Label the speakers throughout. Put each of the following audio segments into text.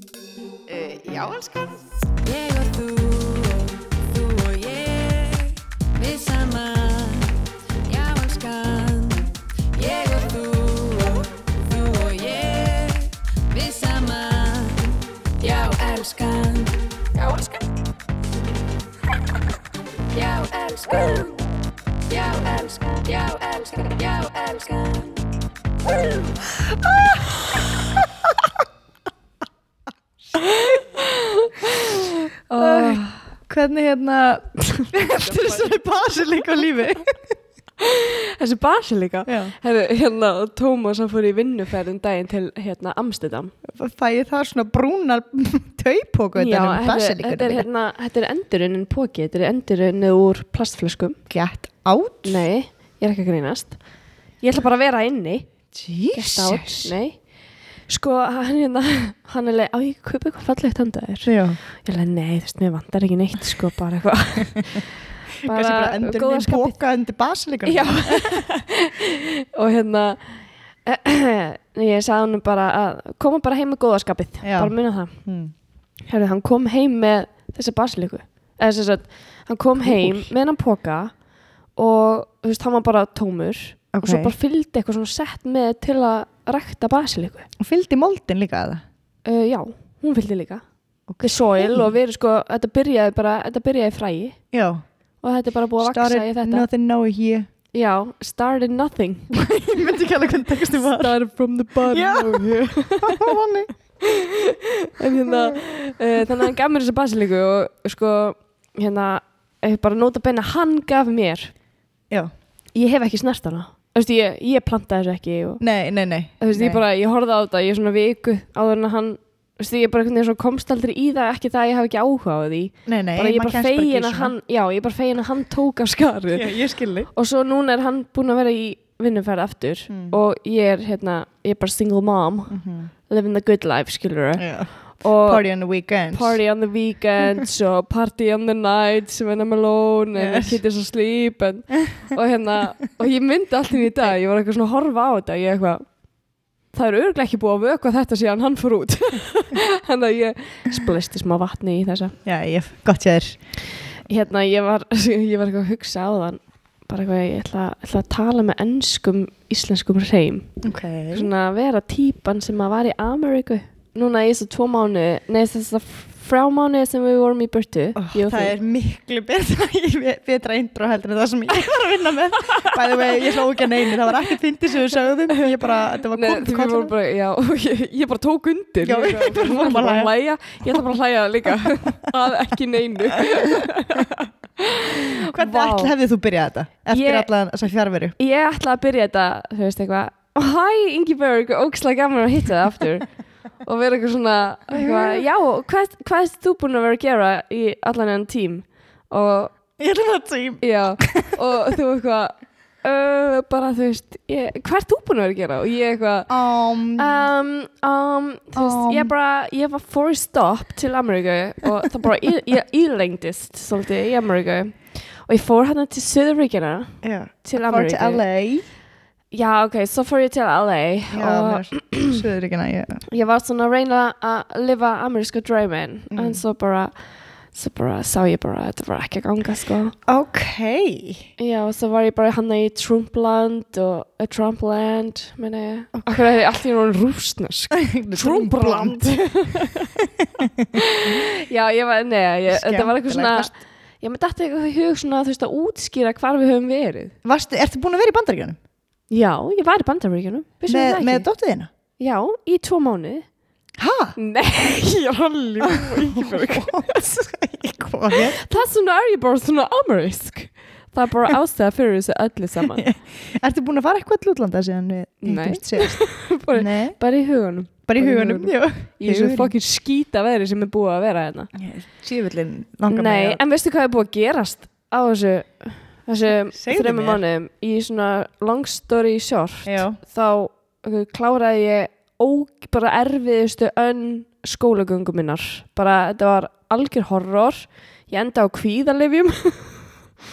Speaker 1: Uh, já, elskan.
Speaker 2: Ég og þú og þú og ég Við saman, já elskan Ég og þú og þú og ég Við saman, já elskan Já elskan Já elskan Já elskan, já elskan, já elskan
Speaker 3: Hvernig hérna Þetta er svona basilík á lífi
Speaker 4: Þessi basi líka.
Speaker 3: Já.
Speaker 4: Herru, hérna, Tómas hann fór í vinnuferðin daginn til hérna Amsterdam.
Speaker 3: Fæ ég það svona brúna taupóku Þetta er
Speaker 4: Já, herru,
Speaker 3: basilíkur
Speaker 4: um þetta er hérna, þetta er endurunin póki, þetta er endurunin úr plastflöskum.
Speaker 3: Get out
Speaker 4: Nei, ég er ekki að grínast. Ég ætla bara að vera inni. Get out,
Speaker 3: Jesus
Speaker 4: nei. Sko, hann hérna, hann er leið, á ég kaupa eitthvað fallegt handa þér.
Speaker 3: Já
Speaker 4: Ég leið, nei, þú veist, mér vantar ekki neitt, sko, bara eitthvað.
Speaker 3: Kanski bara endur
Speaker 4: góða
Speaker 3: minn
Speaker 4: skapið.
Speaker 3: póka undir basilíkur
Speaker 4: Já Og hérna Ég sagði hann bara að koma bara heim með góðaskapið
Speaker 3: Já.
Speaker 4: Bara muna það
Speaker 3: mm.
Speaker 4: Hérðu, hann kom heim með þessa basiliku Eða þess að hann kom heim með hann póka Og þú veist, hann var bara tómur
Speaker 3: Ok.
Speaker 4: Og svo bara fylgdi eitthvað svona sett með til að rækta basiliku
Speaker 3: Og fylgdi moldin líka að það
Speaker 4: uh, Já, hún fylgdi líka okay. The soil og við erum sko Þetta byrjaði bara, þetta byrjaði í fræi
Speaker 3: Já
Speaker 4: Og þetta er bara búið að vaksa í þetta
Speaker 3: nothing now here
Speaker 4: Já, started nothing
Speaker 3: Ég myndi ekki alveg hvernig tekst þið var
Speaker 4: Started from the bottom
Speaker 3: Já.
Speaker 4: of you
Speaker 3: Þannig
Speaker 4: en hérna, uh, þannig að hann gaf mér þessa basilíku og sko, hérna, eh, bara nota beina hann gaf mér.
Speaker 3: Já
Speaker 4: Ég hef ekki snert hana. Þú veist, ég, ég plantaði þessu ekki og
Speaker 3: Nei, nei, nei
Speaker 4: þú veist,
Speaker 3: Nei.
Speaker 4: ég bara, ég horfði á þetta, ég svona viku áður en að hann, þú veist, ég bara einhvern veginn svo komst aldrei í það, ekki það að ég hafi ekki áhuga á því.
Speaker 3: Nei, nei,
Speaker 4: bara ég
Speaker 3: maður
Speaker 4: bara
Speaker 3: kemst ekki í
Speaker 4: fegin að
Speaker 3: svona.
Speaker 4: hann, já, ég bara fegin að hann tók af skarið.
Speaker 3: Já, ég skilði
Speaker 4: Og svo núna er hann búin að vera í vinnuferð aftur
Speaker 3: Mm.
Speaker 4: og ég er, hérna, ég er bara single mom, living the good life, skilur þau.
Speaker 3: yeah.
Speaker 4: Mhm. Og
Speaker 3: Party on the weekends
Speaker 4: Party on the weekends og Party on the nights when I'm alone and
Speaker 3: Yes.
Speaker 4: Kittys are sleep and, og hérna, og ég myndi alltaf í dag ég var eitthvað svona að horfa á þetta ég eitthvað, það er örglega ekki búið að vöka þetta síðan hann fór út þannig að ég splisti smá vatni í þessa
Speaker 3: Já, ég, gott ég þér
Speaker 4: hérna, ég var, ég var eitthvað að hugsa á þann bara eitthvað, ég ætla, ætla að tala með ennskum íslenskum hreim
Speaker 3: Ok
Speaker 4: svona að vera típan sem að var í Ameríku núna í þessu tvo mánu nei þess að frá mánu sem við vorum í burtu ég og
Speaker 3: oh, það
Speaker 4: þú.
Speaker 3: er miklu betra, ég- betra intro heldur en það sem ég var að vinna með By the way, ég sló ekki að neinu, það var ekkert fyndið sem við sögðum Ég bara, þetta var
Speaker 4: Nei,
Speaker 3: komið
Speaker 4: því við vorum
Speaker 3: kollum
Speaker 4: bara, já, ég, ég bara tók undir
Speaker 3: Já,
Speaker 4: ég,
Speaker 3: við vorum
Speaker 4: bara,
Speaker 3: að
Speaker 4: bara að hlæja ég ætla bara að hlæja líka að ekki neinu
Speaker 3: Hvernig
Speaker 4: Vá.
Speaker 3: ætla hefði þú byrjað þetta? Eftir
Speaker 4: Ég-
Speaker 3: allan þess að fjárveru
Speaker 4: ég ætla að byrja þetta þú veist eitthvað Hæ Ingeborg, ógslag gaman að hitta það aftur og vera eitthvað svona eitthvað, já, hvað, hvað er þú búin að vera að gera í allan enn tím og
Speaker 3: Ég ætla það tím
Speaker 4: Já, og þú eitthvað uh, bara þú veist ég, hvað er þú búin að vera að gera? og ég eitthvað
Speaker 3: um,
Speaker 4: um, um, þú veist,
Speaker 3: Um.
Speaker 4: ég bara ég var forced up til Ameríku og það bara, í- ég ílengdist svolítið í Ameríku og ég fór hérna til Suðuríkina
Speaker 3: Já,
Speaker 4: til
Speaker 3: fór til
Speaker 4: Ameríku
Speaker 3: LA
Speaker 4: já, ok, svo fór ég til LA
Speaker 3: Já,
Speaker 4: og
Speaker 3: mér söður ekki næja
Speaker 4: ég var svona að reyna að lifa amerísku draumin
Speaker 3: Mm.
Speaker 4: en svo bara svo bara sá ég bara að þetta var ekki að ganga sko
Speaker 3: Ok
Speaker 4: Já, og svo var ég bara hann í Trumpland og eh, Trumpland, meina ég. Akkur er allt í náttúrulega rúsnesk. Trumpland. Já, ég var, nei, ég, þetta var eitthvað svona,
Speaker 3: Skemmtilegt.
Speaker 4: já, mér dætti eitthvað í hug svona, þú veist, að útskýra hvar við höfum verið.
Speaker 3: Varstu, ertu búin að vera í bandaríkjunum?
Speaker 4: Já, ég var í Bandaríkjunum, vissum við
Speaker 3: Með,
Speaker 4: það ekki?
Speaker 3: með dóttu þína?
Speaker 4: Já, í tvo mánuði.
Speaker 3: Hæ?
Speaker 4: Nei, ég er alveg íkjörg.
Speaker 3: Hvað?
Speaker 4: Það svona er ég bara svona amerísk. Það er bara ástæða fyrir þessu öllu saman.
Speaker 3: Ertu búin að fara eitthvað til útlanda síðan við
Speaker 4: Nei.
Speaker 3: hittumst síðast?
Speaker 4: bara,
Speaker 3: Nei,
Speaker 4: bara í huganum.
Speaker 3: bara í
Speaker 4: Bara í
Speaker 3: hugunum, já.
Speaker 4: Ég er svo
Speaker 3: Huganum.
Speaker 4: fokkin skýta veðri sem er búið að vera hérna.
Speaker 3: Sjöfullin langar
Speaker 4: Nei, en veistu hvað er búið að gerast á þessu, þessu
Speaker 3: Segðu
Speaker 4: þreymum
Speaker 3: mér.
Speaker 4: mannum í svona long story short
Speaker 3: Já,
Speaker 4: þá uh, kláraði ég ó, bara erfiðustu önn skólagöngu minnar bara þetta var algjör horror ég enda á kvíðalifjum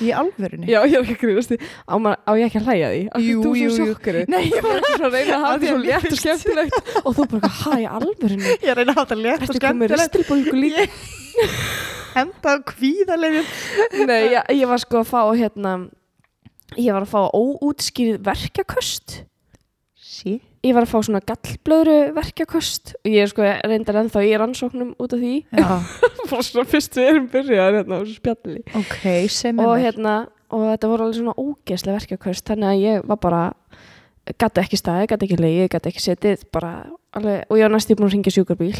Speaker 3: Í alvörunni?
Speaker 4: Já, ég er ekki að grínast því á, maður- á ég ekki að hlæja því? Af því
Speaker 3: Jú,
Speaker 4: þú
Speaker 3: jú,
Speaker 4: svo
Speaker 3: jú.
Speaker 4: sjokkari
Speaker 3: Nei, ég
Speaker 4: Ég
Speaker 3: var
Speaker 4: er ekki svona að reyna að hafa
Speaker 3: Af því
Speaker 4: því
Speaker 3: að
Speaker 4: svo
Speaker 3: mér
Speaker 4: létt og
Speaker 3: finnst-
Speaker 4: skemmtilegt og þú bara, hæ, alvörinu
Speaker 3: ég reyna að hafa þetta létt og
Speaker 4: Ertu komið
Speaker 3: skemmtilegt
Speaker 4: ristilbólgu líka?
Speaker 3: Henda á kvíðalegjum
Speaker 4: Nei, ég, ég var sko að fá hérna Ég var að fá óútskýrið verkjaköst
Speaker 3: Sí
Speaker 4: Ég var að fá svona gallblöðru verkjaköst og ég er sko reyndar ennþá í rannsóknum út af því
Speaker 3: Já,
Speaker 4: Frá svona fyrst við erum byrjaðar hérna á þessu spjalli
Speaker 3: ok, sem
Speaker 4: og
Speaker 3: er mér
Speaker 4: hérna og þetta voru alveg svona ógeðslega verkefkvöst þannig að ég var bara gæti ekki staði, gæti ekki leiði, gæti ekki setið bara alveg, og ég var næstu búin að ringja sjúkarbíl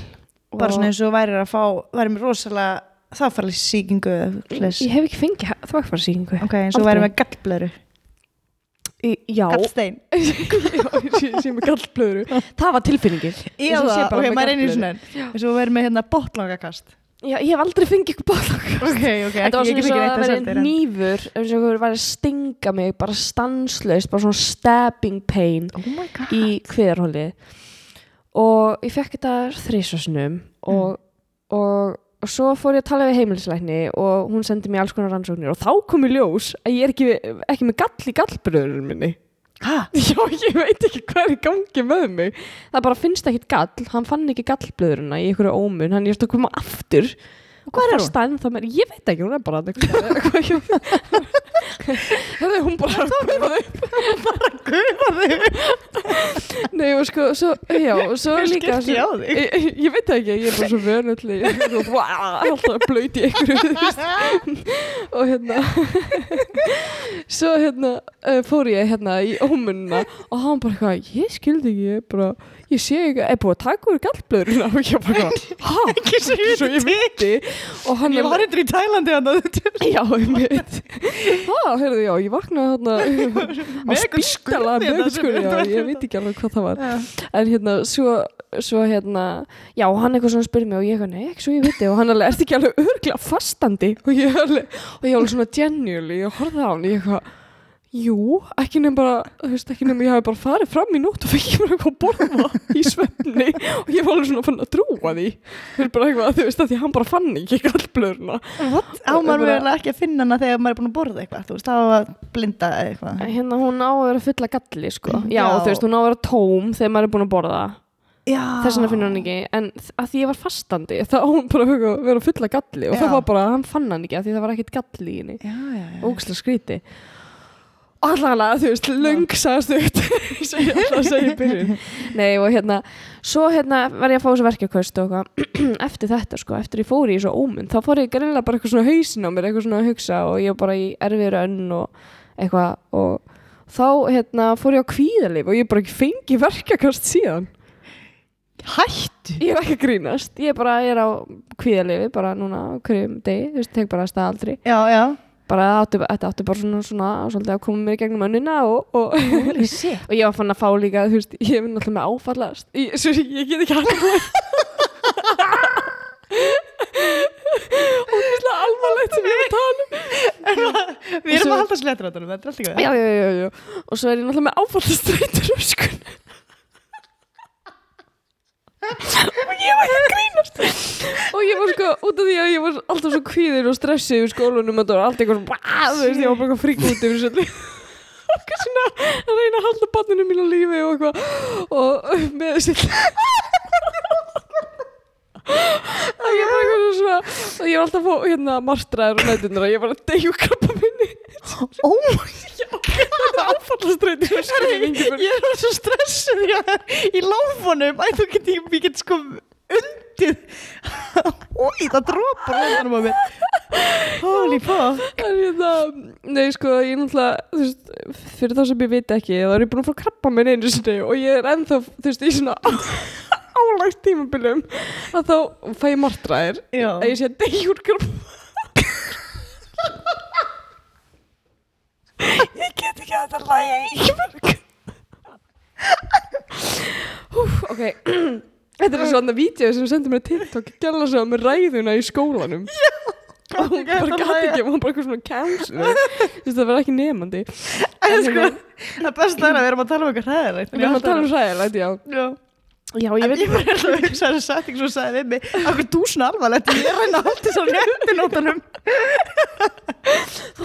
Speaker 3: Bara svona eins og værið að fá, værið með rosalega þáfælis sýkingu
Speaker 4: ég,
Speaker 3: Ok,
Speaker 4: hef ekki fengið þvægfarsýkingu
Speaker 3: eins og
Speaker 4: Aldrei.
Speaker 3: værið með gallblöðru
Speaker 4: já,
Speaker 3: Gallstein
Speaker 4: ég sé með gallblöðru það var tilfinningin
Speaker 3: Já,
Speaker 4: Eins og sé
Speaker 3: það,
Speaker 4: bara
Speaker 3: ok,
Speaker 4: með
Speaker 3: maður reynir
Speaker 4: gallblöðru.
Speaker 3: svona eins og værið með hérna botnlangakast
Speaker 4: já, ég hef aldrei fengið ykkur bálag
Speaker 3: Ok, ok,
Speaker 4: Þetta var
Speaker 3: ekki, ekki
Speaker 4: svona eins og
Speaker 3: fengið
Speaker 4: að
Speaker 3: neitt
Speaker 4: það
Speaker 3: að
Speaker 4: væri nýfur eins og það væri að stinga mig bara stanslaust, bara svona stabbing pain
Speaker 3: Oh my god
Speaker 4: í hverhóli og ég fekk þetta þrísvarsnum og,
Speaker 3: Mm.
Speaker 4: og, og svo fór ég að tala við heimilisleikni og hún sendi mér alls konar rannsóknir og þá kom í ljós að ég er ekki, ekki með gall í gallbröðurinn minni
Speaker 3: Hæ?
Speaker 4: Já, ég veit ekki hvað er í gangi með mig það bara finnst ekkit gall, hann fann ekki gallblöðurina í einhverju ómun, hann ég er að koma aftur
Speaker 3: Hvar er hún?
Speaker 4: Stæðin, það með, ég veit ekki, hún er bara Þetta er hún bara
Speaker 3: Guðvarðu
Speaker 4: Nei og sko, svo, já, og svo
Speaker 3: Hver
Speaker 4: líka
Speaker 3: skipti
Speaker 4: svo,
Speaker 3: á þig?
Speaker 4: ég, ég- ég veit það ekki, ég er bara svo vönulli Ég er svo, "Vá", alltaf blöyt í einhverju þú veist. Og hérna Svo hérna uh, fór ég hérna í ómunna Og hann bara eitthvað, ég skildi ekki Ég bara, ég sé ekki, er búið að taka úr gallblöðurinn Og ég bara, hæ,
Speaker 3: Ekki svo ég
Speaker 4: svo ég viti Og hann
Speaker 3: Ég var reyndur í Tælandi hann að þetta
Speaker 4: Já, ég veit Há, heyrðu, já, ég vaknaði hérna á
Speaker 3: Megan
Speaker 4: spítala
Speaker 3: Skurði,
Speaker 4: með
Speaker 3: þetta
Speaker 4: skurði,
Speaker 3: sem-
Speaker 4: já, ég veit ekki alveg hvað það var en hérna, svo, svo hérna já, hann eitthvað svona spurði mig og ég eitthvað, nei, ekki svo ég viti og hann alveg, ertu ekki alveg örglega fastandi og ég alveg, og ég alveg svona genuinely, ég horfði á hann, ég eitthvað Jú, ekki nefn bara, þú veist, ekki nefn ég hafi bara farið fram í nótt og fekk ég bara eitthvað að borða í svefni og ég var alveg svona fann að trúa því þú veist, bara eitthvað, þú veist, að því að hann bara fann ekki gallblöðurna
Speaker 3: What? Á maður
Speaker 4: Bara-
Speaker 3: verður ekki að finna hana þegar maður er búin að borða eitthvað Þú veist, þá var að blinda eða eitthvað
Speaker 4: Hérna hún á að vera fulla galli sko Já,
Speaker 3: Já.
Speaker 4: þú veist, hún á að vera tóm þegar maður er búin að borða
Speaker 3: Já
Speaker 4: Þess vegna finnur hann ekki En þ- að því ég var fastandi þá á hún bara að vera fulla galli Og
Speaker 3: Já.
Speaker 4: það var bara, hann fann hann ekki að því það var ekkit galli í henni
Speaker 3: Já, já, já
Speaker 4: Ógsla skríti Allanlega, þú veist, löngsast út sem ég alltaf að segja í byrjun Nei, og hérna, svo hérna var ég að fá þessu verkjarkvöst og eitthvað Eftir þetta, sko, eftir ég fór í þessu ómynd Þá fór ég greinlega bara eitthvað svona hausin á mér Eitthvað svona að hugsa og ég var bara í erfiður önn og eitthvað Og þá, hérna, fór ég á kvíðalif Og ég bara ekki fengi verkjarkvöst síðan
Speaker 3: Hættu
Speaker 4: Ég er ekki að grínast Ég bara ég er á kvíðalifi, bara núna á hverjum degi Þú veist, tek bara að staða aldrei
Speaker 3: Já, já
Speaker 4: bara það átti, þetta átti bara svona, svona svolítið að koma mér í gegnum önnuna og, og, og
Speaker 3: Holy shit
Speaker 4: ég var fann að fá líka þú veist, ég er náttúrulega með áfallast ég, svo, ég get ekki alveg ógæslega alvarlegt sem ég er að tala um
Speaker 3: Við erum að halda slettröndunum, þetta er allt í góð
Speaker 4: já, já, já, já, og svo er ég náttúrulega með sko. áfallastreitur og skun og ég var ekki að grínast og ég var sko, út af því að ég var alltaf svo kvíðir og stressið yfir skólanum og það var alltaf eitthvað svona, "Wah", þú veist, ég var bara eitthvað frík út yfir svolítið og eitthvað svona að reyna að halda banninu mínu á lífi og eitthvað og með þessi og ég var eitthvað svona og ég var alltaf að fá hérna martraður og nætunar og ég var að deyja úr krabba minni
Speaker 3: Ó, oh,
Speaker 4: Þetta er áfallastreitur og skilningur
Speaker 3: ég er svo stressuð já, í láfunum Æ, þú get, ég, ég get sko undið Úi, það dropar hundanum á mér Holy fuck
Speaker 4: En hérna, nei sko, ég náttúrulega, þú veist, fyrir þá sem ég veit ekki, þá er ég búin að fá krabba minn einu sinni og ég er ennþá, þú veist, í svona álægt tímabilum að þá fæ ég martraðir
Speaker 3: Já.
Speaker 4: að ég sé að deyja úr krabba. ég get ekki að þetta lægja í mörg. Úf, ok, þetta er svona vídeo sem sendur mér tiltokk, gæla svo með ræðuna í skólanum og hún
Speaker 3: Ég
Speaker 4: bara
Speaker 3: ætla að
Speaker 4: gæti
Speaker 3: hlæja.
Speaker 4: ekki, hún bara eitthvað svona cancel þú veist það var ekki nefandi
Speaker 3: En sko, það besta er að við erum að tala um eitthvað hræðilegt
Speaker 4: við erum að tala um sæðilegt, já
Speaker 3: Já,
Speaker 4: Já, ég
Speaker 3: En
Speaker 4: veit
Speaker 3: ég var alltaf að hugsa þess að setting svo sagði við mig Akkur túsin alvarlegt, ég er að reyna allt þess að rétti nótanum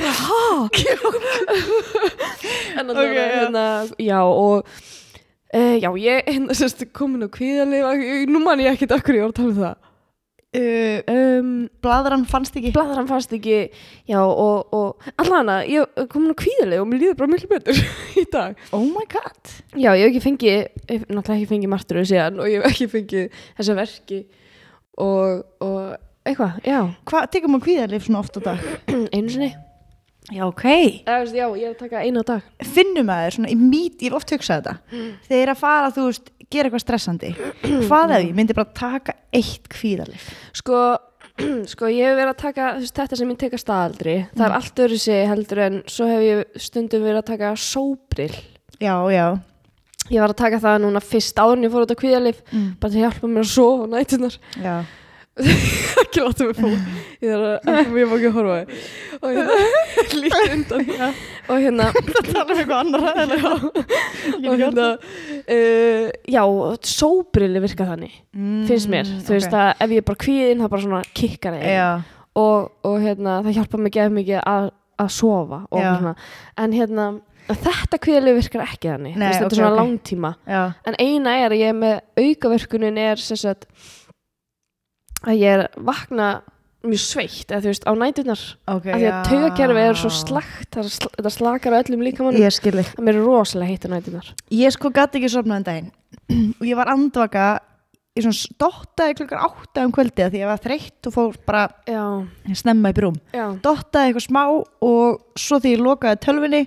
Speaker 4: en
Speaker 3: Ok,
Speaker 4: okay, ja.
Speaker 3: já.
Speaker 4: hérna, já og uh, já, ég hérna sérst komin á kvíðanlega, nú man ég ekkert okkur ég var að tala um það
Speaker 3: uh,
Speaker 4: um,
Speaker 3: Bladran fannst ekki
Speaker 4: bladran fast ekki já og, og allan að ég er komin á kvíðanlega og mér líður bara miklu betur í dag
Speaker 3: Oh my god
Speaker 4: já, ég hef ekki fengið ég hef náttúrulega ekki fengið martröðu síðan og ég hef ekki fengið þessa verki og, og eitthvað, já,
Speaker 3: Hvað, tekum við kvíðarlif svona oft á dag?
Speaker 4: einu sinni
Speaker 3: Já, ok
Speaker 4: eða, þú veist, já, ég er að taka einu á dag
Speaker 3: Finnum að þeir svona, í mít, ég hef oft hugsað þetta Þeir eru að fara, þú veist, gera eitthvað stressandi Hvað ef ég myndi bara taka eitt kvíðarlif?
Speaker 4: Sko, sko ég hef verið að taka þú veist, þetta sem ég tekast staðaldri. Það er allt öðru sig heldur en svo hef ég stundum verið að taka sóbril.
Speaker 3: Já, já
Speaker 4: Ég var að taka það núna fyrst áðurinn ég fór út á kvíðalif
Speaker 3: Mm.
Speaker 4: bara til að hjálpa mér að sofa á nætunar.
Speaker 3: Já,
Speaker 4: ekki láta mig fá. Ég þarf að, ég má ekki horfa á þig. Og hérna, lítið undan. Og hérna,
Speaker 3: það tala um eitthvað annar ræðilega
Speaker 4: og hérna, uh, já, sóbrili virka þannig, finnst mér. Þú veist að ef ég er bara kvíðin, það bara svona kikkar eða.
Speaker 3: Mm, Já,
Speaker 4: og, og hérna, það hjálpa mig gefið mikið að, að sofa og
Speaker 3: Já.
Speaker 4: hérna. en hérna, þetta kvíðalegu virkar ekki
Speaker 3: Nei,
Speaker 4: þannig, Þú veist, þetta
Speaker 3: ok,
Speaker 4: er svona
Speaker 3: ok.
Speaker 4: langtíma
Speaker 3: já
Speaker 4: en eina er að ég er með aukaverkunin er sem sagt að ég er vakna mjög sveitt, eða þú veist, á nætunar
Speaker 3: okay,
Speaker 4: af því
Speaker 3: já.
Speaker 4: að taugakerfi er svo slagt það er sl þetta slakar á öllum líkamannum
Speaker 3: Ég skil þig
Speaker 4: það mér er rosalega heitt á nætunar
Speaker 3: Ég sko gæti ekki sofnað en daginn og ég var andvaka ég svona dottaði klukkar átta um kvöldi af því ég var þreytt og fór bara
Speaker 4: já,
Speaker 3: snemma í brúm
Speaker 4: já,
Speaker 3: dottaði eitthvað smá og svo því ég lokaði tölvunni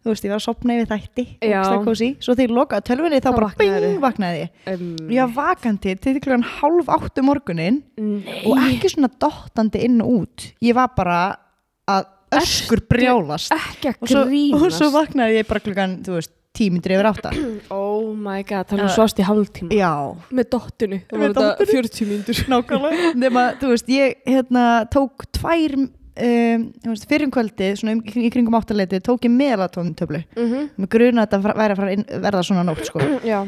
Speaker 3: þú veist ég var að sopna yfir þætti
Speaker 4: Já.
Speaker 3: ógeðslega kósí. svo því ég lokaði tölvunni þá
Speaker 4: Þá
Speaker 3: bara
Speaker 4: vaknaðirðu.
Speaker 3: bing vaknaði ég
Speaker 4: um,
Speaker 3: ég var vakandi til klukkan hálf áttu morgunin
Speaker 4: nei
Speaker 3: og ekki svona dottandi inn og út ég var bara að öskur brjálast
Speaker 4: ekki að
Speaker 3: og svo,
Speaker 4: grínast
Speaker 3: og svo vaknaði ég bara klukkan þú veist tímindri yfir átta
Speaker 4: oh my god, þannig
Speaker 3: Já.
Speaker 4: að svast í hálftíma
Speaker 3: já
Speaker 4: með dottinu, það
Speaker 3: Með
Speaker 4: var þetta
Speaker 3: dottinu.
Speaker 4: 40 mínútur
Speaker 3: Nákvæmlega Nefna, þú veist, ég hérna tók tvær um, þú veist, fyrrum kvöldi, svona um, í kringum áttaleiti tók ég melatóntöflu
Speaker 4: mm
Speaker 3: Mér gruna að þetta fra- væri að fara inn, verða svona nótt sko.
Speaker 4: Já,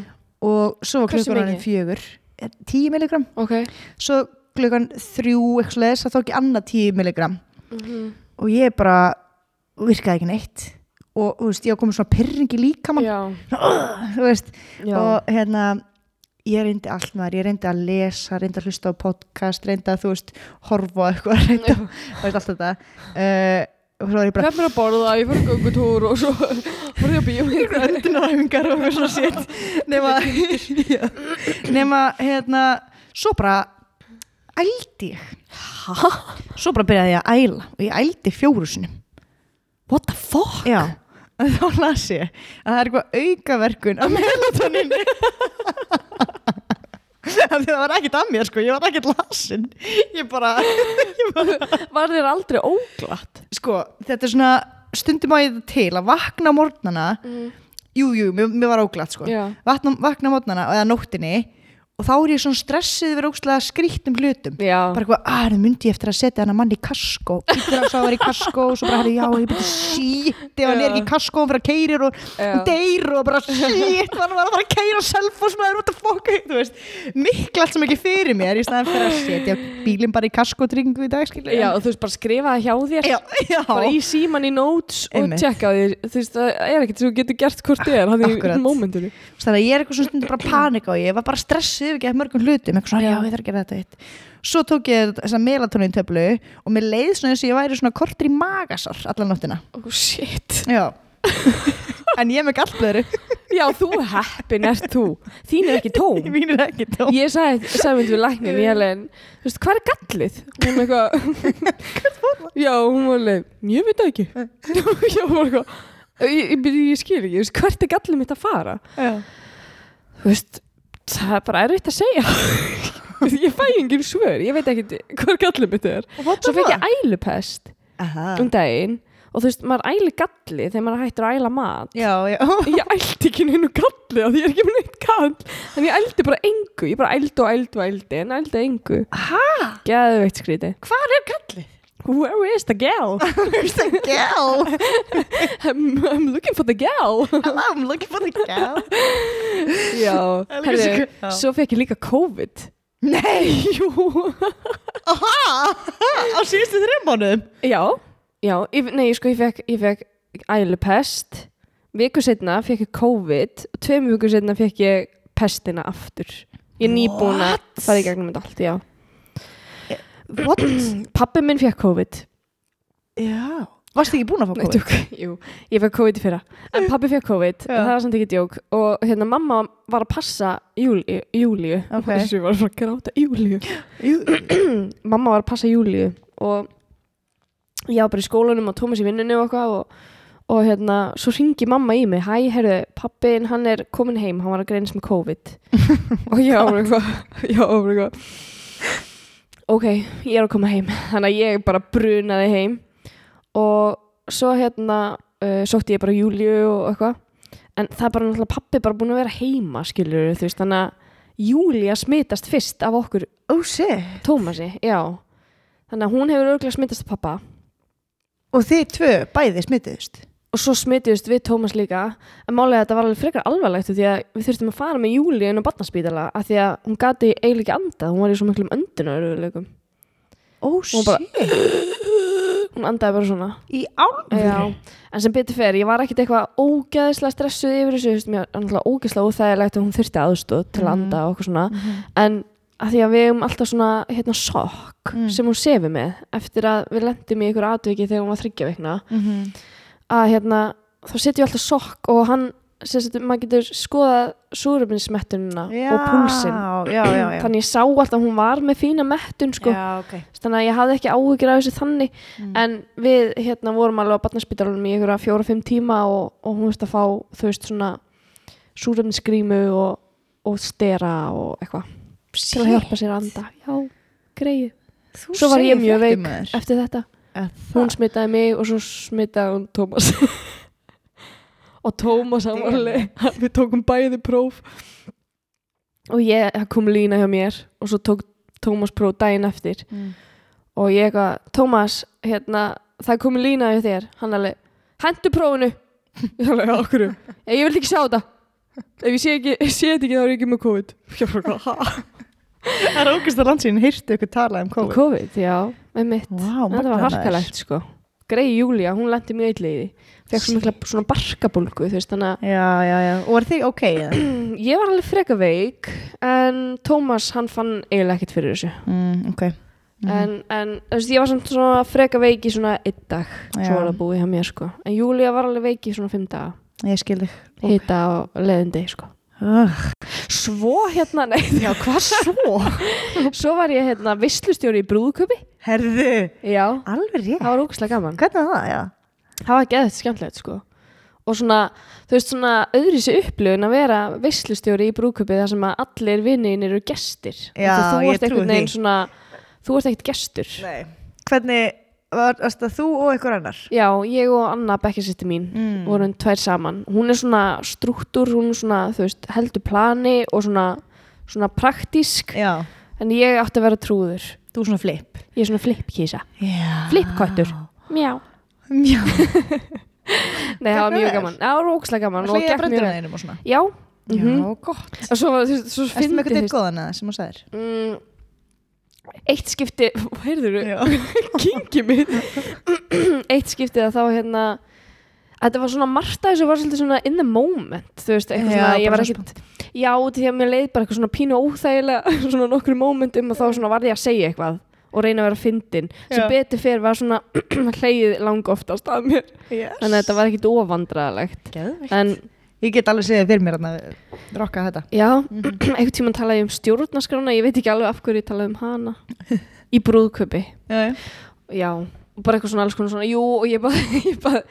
Speaker 3: og svo var
Speaker 4: Hversu
Speaker 3: klukkan hann
Speaker 4: mikið?
Speaker 3: fjögur eh, 10 milligram,
Speaker 4: ok
Speaker 3: svo klukkan þrjú eitthvað leðis, það tók ég annað 10 milligram
Speaker 4: Mhm.
Speaker 3: og ég bara virkaði ekki neitt og þú veist, ég var komið svona pyrringi líka mann,
Speaker 4: Já,
Speaker 3: þú veist
Speaker 4: já
Speaker 3: og hérna ég reyndi allt maður, ég reyndi að lesa reyndi að hlusta á podcast, reyndi að þú veist horfa á eitthvað, reyndi að þú veist allt þetta uh, og svo var ég bara
Speaker 4: Hvem hérna er að borða, ég fyrir göngutúr og svo fór ég að bíó
Speaker 3: öndunarhæfingar og eitthvað svona sétt nema Já. nema hérna svo bara ældi ég svo bara byrjaði ég að æla og ég ældi fjórusunum
Speaker 4: What the fuck?
Speaker 3: Já, en þá las ég að það er eitthvað aukaverkun af melatoninni af því það var ekkert að mér sko, ég var ekkert lasin ég bara, ég bara
Speaker 4: Var þér aldrei óglatt?
Speaker 3: sko, þetta er svona stundum að ég þetta til að vakna á morgnana jú, jú, mér, mér var óglatt sko
Speaker 4: Mm. Já.
Speaker 3: vakna, vakna á morgnana eða nóttinni og þá er ég svona stressuð við ógstlega skrýttum hlutum
Speaker 4: Já,
Speaker 3: bara eitthvað, að það myndi ég eftir að setja hennar mann í kaskó ykkur að sá það var í kaskó og svo bara, herri, já, ég byrja shit ef hann er ekki í kaskó, hann fyrir að keirir og
Speaker 4: Já.
Speaker 3: hún deyr og bara shit hann var að fara að keira selfos maður what the fuck, þú veist, mikla allt sem ekki fyrir mér í staðan fyrir að setja bílinn bara í kaskó tringu í dag, skilja
Speaker 4: já þú veist bara skrifaði hjá þér
Speaker 3: já, já.
Speaker 4: Bara í síman í notes og
Speaker 3: Einmitt.
Speaker 4: tjekka þér Þú veist, það er ekkert sem þú getur gert hvort þið er Hann í
Speaker 3: Akkurat.
Speaker 4: momentinu
Speaker 3: þannig að ég er eitthvað svona stundur bara að panika og ég var bara stressuð ekki að mörgum hlutum eitthvað svona, já, ég þarf að gera þetta eitt svo tók ég þessa melatonin töflu og mér leið svona eins og ég væri svona kortur í magasar allan nóttina
Speaker 4: Oh shit
Speaker 3: Já En ég er með gallblöðru
Speaker 4: Já, þú heppin ert þú Þín er ekki tóm
Speaker 3: Mín er ekki tóm
Speaker 4: Ég sagði, sagði mynd við læknin í helen Þú veist, hvað er gallið? Hún eitthvað Já, hún var leið, ég veit það ekki Já, hún var eitthvað Ég, ég, ég, ég skil ekki, þú veist, hvert er gallið mitt að fara? Þú veist, það er bara erfitt að segja Þú veist, Ég fæ engin svör Ég veit ekki hvað gallið mitt er Svo fekk ég ælupest
Speaker 3: Aha.
Speaker 4: um daginn Og þú veist, maður æli gallið þegar maður hættur að æla mat
Speaker 3: Já, já
Speaker 4: Ég ældi ekki neinu gallið af því ég er ekki með neitt gall En ég ældi bara engu, ég bara ældi og ældi og ældi En ældi engu
Speaker 3: Hæ?
Speaker 4: Geðveikt skríti
Speaker 3: Hvað er gallið?
Speaker 4: Where is the gal?
Speaker 3: Where's the gal?
Speaker 4: I'm, I'm looking for the gal
Speaker 3: Hello, I'm looking for the gal
Speaker 4: Já,
Speaker 3: Það er líka
Speaker 4: herri,
Speaker 3: svo- Já.
Speaker 4: svo fekk ég líka COVID
Speaker 3: Nei
Speaker 4: Jú
Speaker 3: Aha, á síðustu þreymónum
Speaker 4: Já, já, ég, nei, sko, ég fekk, ég fekk ælupest Viku setna fekk ég COVID og Tveim viku setna fekk ég pestina aftur Ég er nýbúin að
Speaker 3: What?
Speaker 4: fara í gegnum þetta allt, já
Speaker 3: What?
Speaker 4: Pappi minn fekk COVID
Speaker 3: Já Varstu ekki búin að fá
Speaker 4: Nei,
Speaker 3: COVID?
Speaker 4: djók, jú, ég fekk COVID í fyrra En pabbi fekk COVID,
Speaker 3: Já.
Speaker 4: það var samt ekki djók Og hérna mamma var að passa Júlíu, Júlíu
Speaker 3: Ok.
Speaker 4: Þessu var að fara að gráta Júlíu
Speaker 3: Jú,
Speaker 4: Mamma var að passa Júlíu Og ég var bara í skólanum og Tómas í vinnunni og eitthvað og, og hérna, svo ringi mamma í mig Hæ, herru, pappin, hann er komin heim Hann var að greinast með COVID Og ég var bara eitthvað ég var bara eitthvað Ok, ég er að koma heim Þannig að ég bara brunaði heim Og svo hérna uh, sótti ég bara Júliu og eitthvað en það er bara náttúrulega pappi bara búin að vera heima skilur þú veist þannig að Júlia smitast fyrst af okkur
Speaker 3: Oh shit
Speaker 4: Tómasi, já þannig að hún hefur örgulega smitast af pappa
Speaker 3: Og þið tvö bæði smitiðust
Speaker 4: og svo smitiðust við Tómas líka en málega þetta var alveg frekar alvarlegt af því að við þurftum að fara með Júli inn á barnaspítala af því að hún gati eiginlega ekki andað hún var í svo miklum öndunaröðuleikum
Speaker 3: Oh
Speaker 4: Hún
Speaker 3: shit
Speaker 4: bara- hún andaði bara svona
Speaker 3: Í álfur
Speaker 4: Já, en sem betur fer, ég var ekkert eitthvað ógeðslega stressuð yfir þessu, þú veist, mér var náttúrulega ógeðslega óþægilegt og hún þurfti aðstóð til að
Speaker 3: Mhm.
Speaker 4: anda og okkur svona, en að því að við hefum alltaf svona, hérna, sokk
Speaker 3: Mm.
Speaker 4: sem hún sefi með, eftir að við lendum í ykkur atviki þegar hún var þryggja veikna
Speaker 3: mhm.
Speaker 4: að hérna, þá setjum við alltaf sokk og hann, sem sagt, maður getur skoðað súrubinsmettunina og púlsinn,
Speaker 3: Já, já, já
Speaker 4: þannig ég sá alltaf að hún var með fína mettun, sko,
Speaker 3: Já, ok
Speaker 4: þannig að ég hafði ekki áhugir af þessu þannig
Speaker 3: Mm.
Speaker 4: en við hérna vorum alveg á barnaspítalunum í einhverja fjóra-fimm tíma og, og hún veist að fá þú veist svona súrefnisgrímu og, og stera og eitthvað til að hjálpa sér að anda já, greið,
Speaker 3: Mm. Þú
Speaker 4: Svo var
Speaker 3: segir
Speaker 4: ég mjög
Speaker 3: fréttir,
Speaker 4: veik.
Speaker 3: maður.
Speaker 4: eftir þetta
Speaker 3: Að
Speaker 4: hún
Speaker 3: það-
Speaker 4: smitaði mig og svo smitaði hún Tómas og Tómas hann var alveg við tókum bæði próf og ég það kom lína hjá mér og svo tók Tómas próf daginn eftir
Speaker 3: Mm.
Speaker 4: og ég eitthvað, Tómas, hérna, það er komið lína hjá þér, hann alveg, hendu prófinu ég alveg, okkur ég vil ekki sjá þetta ef ég sé, ekki, sé þetta ekki þá er ég ekki með COVID ég var bara, ha?
Speaker 3: Það er ógust að landsýn heyrtu ykkur talað um COVID
Speaker 4: COVID, já, með mitt
Speaker 3: Vá,
Speaker 4: þetta
Speaker 3: magnað,
Speaker 4: var
Speaker 3: maður.
Speaker 4: harkalegt, sko Grey Júlia, hún lendi mjög illa í því fekk svo mikla svona barkabólgu, þú veist, þannig að
Speaker 3: Já, já, já Og er þig ok? eða?
Speaker 4: ég var alveg freka veik en Tómas, hann fann eiginlega ekkert fyrir þessu
Speaker 3: Mm, ok
Speaker 4: en, en þú veist, ég var samt svona freka veik í svona einn dag
Speaker 3: Já.
Speaker 4: svo var það búið hjá mér sko en Júlia var alveg veik í svona fimm daga
Speaker 3: Ég skil þig
Speaker 4: hita á leðindi sko
Speaker 3: Ugh.
Speaker 4: svo hérna, nei,
Speaker 3: Já, hvað svo?
Speaker 4: svo var ég hérna visslustjóri í brúðköpi
Speaker 3: Herðu
Speaker 4: já,
Speaker 3: Alveg rétt
Speaker 4: það var ógustlega gaman
Speaker 3: Hvernig er það, já?
Speaker 4: það var geðið skemmtilegt sko og svona, þú veist svona öðru sér upplöfun að vera visslustjóri í brúðköpi þar sem að allir vinnin eru gestir
Speaker 3: Já,
Speaker 4: Af því þú
Speaker 3: ég
Speaker 4: ert einhvern
Speaker 3: trúi
Speaker 4: veginn
Speaker 3: því.
Speaker 4: svona þú ert ekkert gestur
Speaker 3: Nei. Hvernig var varst það þú og ykkur annar?
Speaker 4: já, ég og Anna bekkjarsýtti mín
Speaker 3: Mm.
Speaker 4: vorum tvær saman hún er svona struktúr, hún er svona þú veist, heldur plani og svona svona praktísk,
Speaker 3: Já.
Speaker 4: en ég átti að vera trúður
Speaker 3: Þú svona flip.
Speaker 4: ég er svona flipkísa,
Speaker 3: Já.
Speaker 4: flipkvættur mjá,
Speaker 3: Já.
Speaker 4: nei það var
Speaker 3: Gekk
Speaker 4: mjög
Speaker 3: vel?
Speaker 4: gaman það var ókslega gaman og
Speaker 3: Hlýja
Speaker 4: gekk mjög
Speaker 3: bröndur
Speaker 4: vel.
Speaker 3: að einum og svona.
Speaker 4: já, mm
Speaker 3: gott.
Speaker 4: og svo var þú veist, svo
Speaker 3: Erstu með eitthvað
Speaker 4: fyndi
Speaker 3: til góðan eða sem þú sagðir?
Speaker 4: mm, eitt skipti heyrður,
Speaker 3: Já.
Speaker 4: kingi mitt eitt skipti að þá hérna Þetta var svona margt að þessu var svolítið svona in the moment, þú veist, eitthvað
Speaker 3: Já,
Speaker 4: svona, ég
Speaker 3: bara
Speaker 4: var
Speaker 3: svona
Speaker 4: ekkit, já, út í því að mér leið bara eitthvað svona pínu óþægilega, svona nokkru momentum og þá svona varði ég að segja eitthvað og reyna að vera fyndin, sem
Speaker 3: Já.
Speaker 4: betur fyrir var svona hleyið lang oftast að mér,
Speaker 3: Yes.
Speaker 4: þannig að þetta var ekkit óvandraðalegt,
Speaker 3: Geðveikt.
Speaker 4: en
Speaker 3: Ég get alveg segið fyrir mér að rokka þetta.
Speaker 4: já, einhvern tímann talaði ég um stjórnarskrána, ég veit ekki alveg af hverju ég talaði um hana, í brúðköpi,
Speaker 3: Já, já.
Speaker 4: já, og bara eitthvað svona alls konar svona, jú, og ég bara, ég bara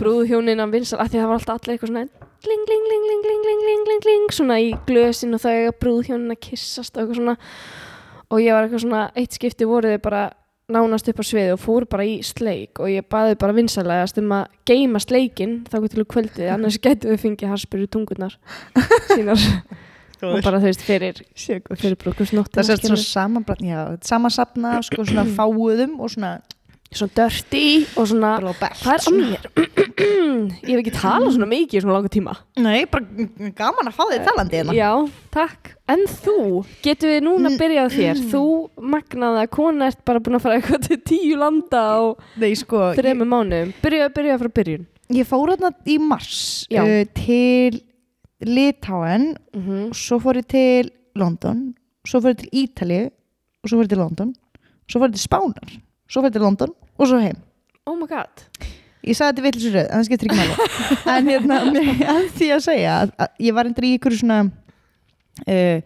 Speaker 4: brúðhjónin að vinsal, af því að það var alltaf allir eitthvað svona gling, gling, gling, gling, gling, gling, gling, gling, gling svona í glösin og þau eiga brúðhjónin að kissast og eitthvað svona og ég var eitthvað svona, eitt skipti voru þau bara nánast upp á sviði og fór bara í sleik og ég baði bara vinsalegast um að geima sleikin þá til að kvöldið annars getum við fengið harspyrir tungurnar sínar og bara þau veist fyrir,
Speaker 3: Sjögur.
Speaker 4: fyrir brúkusnóttina
Speaker 3: Það sést svona saman, já, samansapna, sko, svona fáuðum og svona
Speaker 4: svona dirty og svona
Speaker 3: Blóbelt.
Speaker 4: hvað Ah, er að mér? ég hef ekki talað svona mikið í svona langa tíma
Speaker 3: Nei, bara g- gaman að fá þig talandi hérna. Mm.
Speaker 4: já, takk en þú, getur við núna að byrja á þér þú magnaða kona ert bara búin að fara eitthvað til tíu landa á
Speaker 3: Nei, sko, ég,
Speaker 4: þremur mánuðum byrja, byrja frá byrjun
Speaker 3: ég fór hérna í mars
Speaker 4: Já.
Speaker 3: uh, til Litáen
Speaker 4: mm -hmm.
Speaker 3: og svo fór ég til London svo fór ég til Ítali og svo fór ég til London svo fór ég til Spánar, svo fór ég til London og svo heim
Speaker 4: oh my god
Speaker 3: Ég sagði þetta villisur rauð, en það skiptir ekki máli En hérna, mér- að því að segja að, að ég var endur í ykkur svona uh,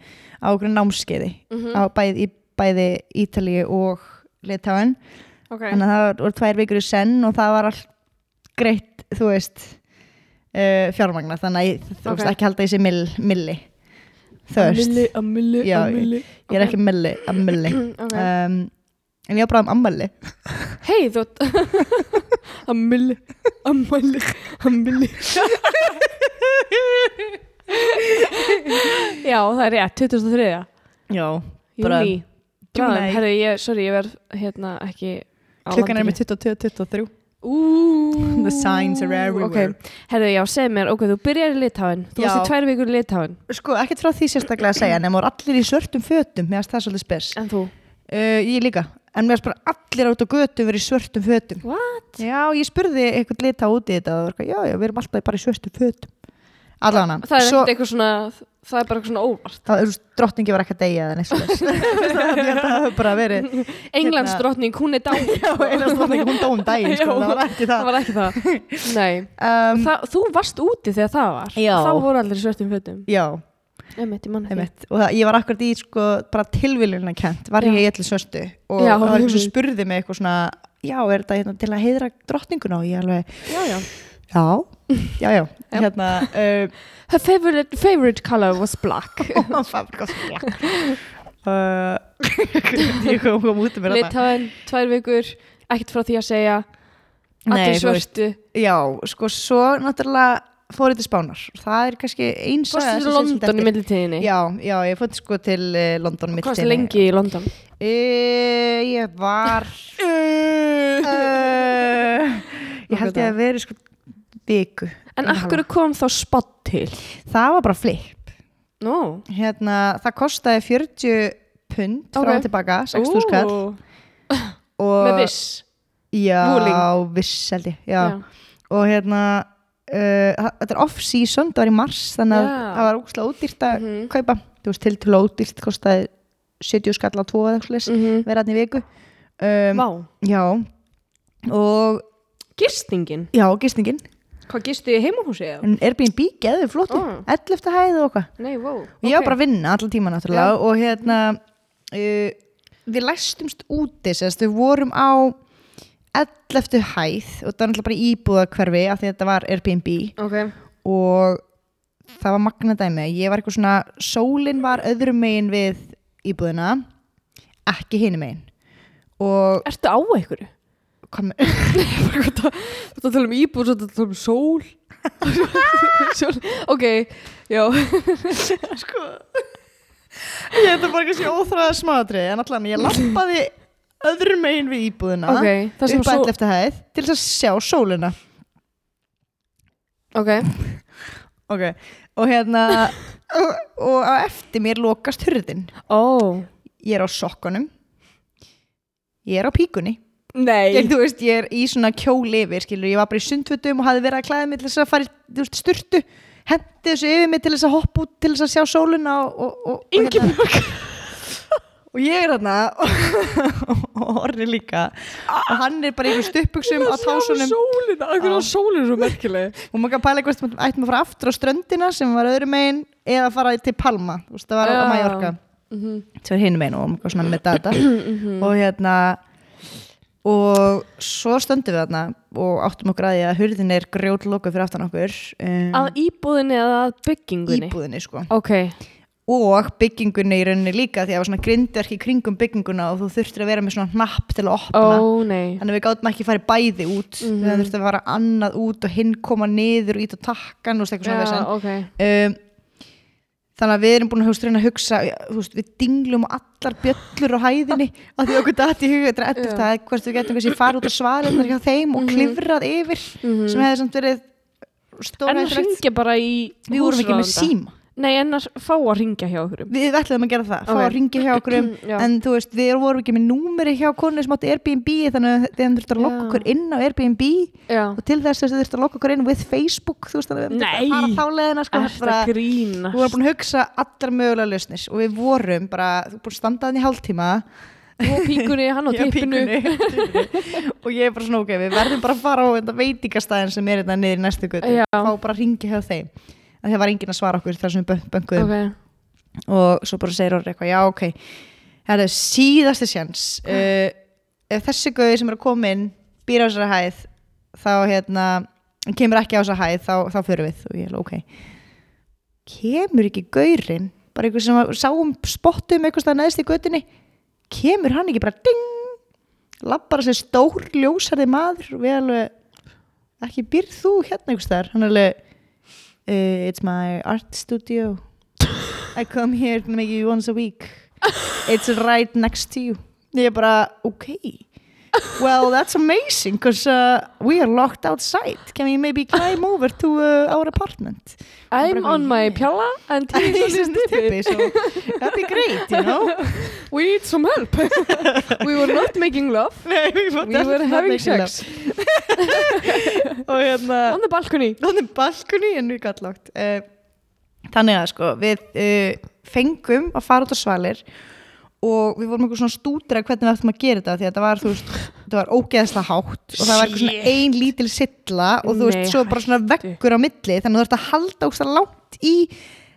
Speaker 3: á okkur námskeiði á bæði, í bæði Ítalíu og Litáin
Speaker 4: ok,
Speaker 3: Þannig að það var- voru tvær vikur í senn og það var allt greitt, þú veist uh, fjármagnar, þannig að ég, þú
Speaker 4: Ok.
Speaker 3: veist ekki halda í sig mill, milli Þú veist,
Speaker 4: amili, amili,
Speaker 3: Já,
Speaker 4: amili
Speaker 3: ég er ekki milli, að milli
Speaker 4: okay.
Speaker 3: um, En ég var bara um ammali
Speaker 4: hei þú amili, amili, amili já, það er rétt 2003
Speaker 3: Já, Bara-
Speaker 4: júni
Speaker 3: Júní.
Speaker 4: Herðu, ég, sorry, ég verð hérna ekki á
Speaker 3: klukkan er
Speaker 4: landinu.
Speaker 3: með 22-23
Speaker 4: Ú,
Speaker 3: The signs are everywhere.
Speaker 4: ok. Herðu, já, segð mér, ok, þú byrjar í Litáin
Speaker 3: Já.
Speaker 4: Þú varst í tvær vikur í Litáin
Speaker 3: Sko, ekkert frá því sérstaklega að segja, nema voru allir í svörtum fötum, mér finnst það svolítið spes.
Speaker 4: En þú?
Speaker 3: Uh, ég líka, en mér finnst bara allir át á götu verið í svörtum fötum.
Speaker 4: What?
Speaker 3: Já, ég spurði eitthvað lita úti í þetta og það var eitthvað, já, já, við erum alltaf bara í svörtum fötum. Allan hann.
Speaker 4: Það er ekkert eitthvað svona Það er bara eitthvað svona óvart
Speaker 3: Það er drottningi var ekki að deyja eða neitt svoleiðis. Þannig að það hefur bara verið,
Speaker 4: Englands drottning, hún er dáin
Speaker 3: Hérna- já, einast drottningi hún dóum daginn, sko,
Speaker 4: Já.
Speaker 3: það var ekki
Speaker 4: Það
Speaker 3: það.
Speaker 4: var ekki það Nei
Speaker 3: Um,
Speaker 4: það, Þú varst úti þegar það var
Speaker 3: Já.
Speaker 4: Þá voru allir í svörtum fötum
Speaker 3: já,
Speaker 4: Emmett, ég manna því
Speaker 3: einmitt. Og það, ég var akkurat í, sko, bara tilviljuna kent, var ég
Speaker 4: Já.
Speaker 3: í allir svörstu og
Speaker 4: Já,
Speaker 3: það
Speaker 4: Mhm.
Speaker 3: var eitthvað sem
Speaker 4: einmitt.
Speaker 3: spurði mig eitthvað svona, já, er þetta hérna, til að heiðra drottninguna og ég alveg,
Speaker 4: Já, já
Speaker 3: Já, já, já, hérna uh,
Speaker 4: Her favorite, favorite color was black
Speaker 3: Óman Fabrikos uh, Ég kom, kom út um mér þarna.
Speaker 4: Litáin, tvær vikur Ekkert frá því að segja
Speaker 3: Nei,
Speaker 4: Allir
Speaker 3: þú veist,
Speaker 4: svörtu
Speaker 3: Já, sko, svo náttúrulega fórið til Spánar Það er kannski eins
Speaker 4: Fórstu til London í millitíðinni
Speaker 3: Já, já, ég fótt sko til uh, London mitt
Speaker 4: Hvað varstu lengi í London?
Speaker 3: Uh, ég var
Speaker 4: Eh,
Speaker 3: uh, Ég held ég að veri sko viku
Speaker 4: En af hverju kom þá spott til?
Speaker 3: Það var bara flip
Speaker 4: Nó
Speaker 3: hérna, það kostaði 40 pund frá
Speaker 4: Ok.
Speaker 3: og tilbaka, 6.000 kall og,
Speaker 4: Með viss
Speaker 3: já,
Speaker 4: Wooling.
Speaker 3: viss held ég já. og hérna uh, það- þetta er off-season, það var í mars þannig að
Speaker 4: Já.
Speaker 3: það var ógustlega ódýrt að
Speaker 4: Mhm.
Speaker 3: kaupa, þú veist, til til ódýrt kostaði 70 skall á 2 eða eitthvað leys,
Speaker 4: Mhm.
Speaker 3: vera hann í viku um,
Speaker 4: Vá
Speaker 3: já og
Speaker 4: Gistingin
Speaker 3: já, gistingin
Speaker 4: Hvað gistu ég heimahúsi eða?
Speaker 3: en Airbnb geði flottu,
Speaker 4: Ó.
Speaker 3: 11. hæð og eitthvað
Speaker 4: Nei, wow
Speaker 3: Ég var bara að vinna allan tíma náttúrulega og hérna uh, við læstumst úti sérst, við vorum á 11. hæð og það var náttúrulega bara íbúðakverfi af því að þetta var Airbnb
Speaker 4: Ok
Speaker 3: og það var magna dæmi ég var eitthvað svona, sólin var öðrum megin við íbúðina ekki hinum megin og
Speaker 4: Ertu á einhverju?
Speaker 3: kom, já,
Speaker 4: Þú ert að tala um íbúr, þú ert að tala um sól Sól Ok, já
Speaker 3: ég þetta er bara kannski óþræða smadri en allan ég lappaði öðrum megin við íbúðina
Speaker 4: Ok, það sem
Speaker 3: upp að
Speaker 4: sól
Speaker 3: 11. hæð til þess að sjá sólina
Speaker 4: Ok,
Speaker 3: Ok, og hérna og, og á eftir mér lokast hurðin
Speaker 4: ó
Speaker 3: ég er á sokkunum ég er á píkunni ég,
Speaker 4: Nei
Speaker 3: þú veist, ég er í svona kjóli yfir skilur, ég var bara í sundfutum og hafði verið að klæða mig til þess að fara í þú veist, sturtu hendi þessu yfir mig til þess að hoppa út til þess að sjá sóluna og, og, og, og, hérna, og ég er þarna og, og orri líka og hann er bara í einhver stuppuksum á
Speaker 4: um-
Speaker 3: tásunum
Speaker 4: Sólina, af hverju
Speaker 3: Já.
Speaker 4: var sólin svo merkileg
Speaker 3: og maður kann pæla hvort maður- ættum að fara aftur á ströndina sem var öðrum megin eða fara til Palma, þú veist, það var á
Speaker 4: Já. Mhm.
Speaker 3: Mallorca sem var hinum megin og maður svona með data og hérna og svo stöndum við þarna og áttum okkur að því að hurðin er grjótlokuð fyrir aftan okkur um,
Speaker 4: Að íbúðinni eða að byggingunni?
Speaker 3: íbúðinni sko
Speaker 4: Ok,
Speaker 3: og byggingunni í rauninni líka því að það var svona grindverk í kringum bygginguna og þú þurftir að vera með svona hnapp til að
Speaker 4: ó Mhm.
Speaker 3: opna
Speaker 4: nei
Speaker 3: Þannig að við gátum ekki að fara bæði út mm -hmm. við þurftum að fara annað út og hinn koma niður og ít á takkan og eitthvað svona
Speaker 4: Já,
Speaker 3: vesen
Speaker 4: ok
Speaker 3: um, þannig að við erum búin að hugsa, reyna að hugsa já, þú veist, við dinglum á allar bjöllur á hæðinni að því okkur datt í huga þetta er eftir
Speaker 4: Já. Mhm.
Speaker 3: það hvort við getum kannski farið út á svalinnar hjá þeim og klifrað yfir sem hefði samt verið
Speaker 4: En að
Speaker 3: stórhættulegt
Speaker 4: ringja bara í
Speaker 3: við vorum ekki með
Speaker 4: húsráðanda.
Speaker 3: síma
Speaker 4: Nei, en að fá að ringja hjá okkur
Speaker 3: við ætlaðum að gera það, fá
Speaker 4: Ok.
Speaker 3: að ringja hjá okkur um
Speaker 4: Já.
Speaker 3: en þú veist, við vorum ekki með númeri hjá konu sem átti Airbnb þannig að þeim þurfti að lokka
Speaker 4: Já.
Speaker 3: okkur inn á Airbnb
Speaker 4: Já
Speaker 3: og til þess þess að þurfti að lokka okkur inn with Facebook þú veist, þannig að við
Speaker 4: Nei.
Speaker 3: þurftum að fara þá leðina sko,
Speaker 4: Þetta
Speaker 3: bara,
Speaker 4: grínast
Speaker 3: við vorum búin að hugsa allar mögulega lausnir og við vorum bara, þú búin að standa þannig í hálftíma
Speaker 4: Og píkunni, hann á
Speaker 3: Já,
Speaker 4: tippinu
Speaker 3: píkunni. og ég er bara svona ok, við verðum bara að fara á þetta veitingastæðin sem er þetta niður í næstu götu
Speaker 4: Já.
Speaker 3: fá bara að ringja hjá þeim Af því að það var enginn að svara okkur þar sem við bönguðum
Speaker 4: Ok,
Speaker 3: og svo bara segir orðið eitthvað, já ok það er síðasti sjans uh, ef þessi gauði sem er að koma inn býr á þessari hæð þá hérna, hann kemur ekki á þessari hæð þá, þá fyrir við og ég er ok kemur ekki gaurinn bara einhver sem að- um sáum spottum eitthvað staðar neðst í göttinni kemur hann ekki bara ding lappar þessi stór ljósarði maður og við alveg ekki býr þú hérna einhvers staðar hann alveg uh, it's my art studio I come here maybe once a week it's right next to you ég er bara ok well that's amazing because uh, we are locked outside can we maybe climb over to uh, our apartment
Speaker 4: I'm
Speaker 3: bara
Speaker 4: on my
Speaker 3: eitthvað,
Speaker 4: pjalla and he's on his
Speaker 3: Tippy,
Speaker 4: tippin
Speaker 3: so that'd be great you know
Speaker 4: We need some help We were not making love
Speaker 3: Nei, we were,
Speaker 4: We were
Speaker 3: definitely
Speaker 4: having
Speaker 3: not
Speaker 4: sex
Speaker 3: making love. og hérna
Speaker 4: On the balcony
Speaker 3: hann er balkunni en við gætt lágt uh, þannig að sko við uh, fengum að fara út á svalir og við vorum eitthvað svona stútir að hvernig við ættum að gera þetta því að þetta var, þú veist, þetta var ógeðslega hátt og það var eitthvað svona ein lítil silla og þú veist,
Speaker 4: Nei,
Speaker 3: svo bara svona
Speaker 4: hættu.
Speaker 3: veggur á milli þannig að þú ert að halda ógeðslega langt í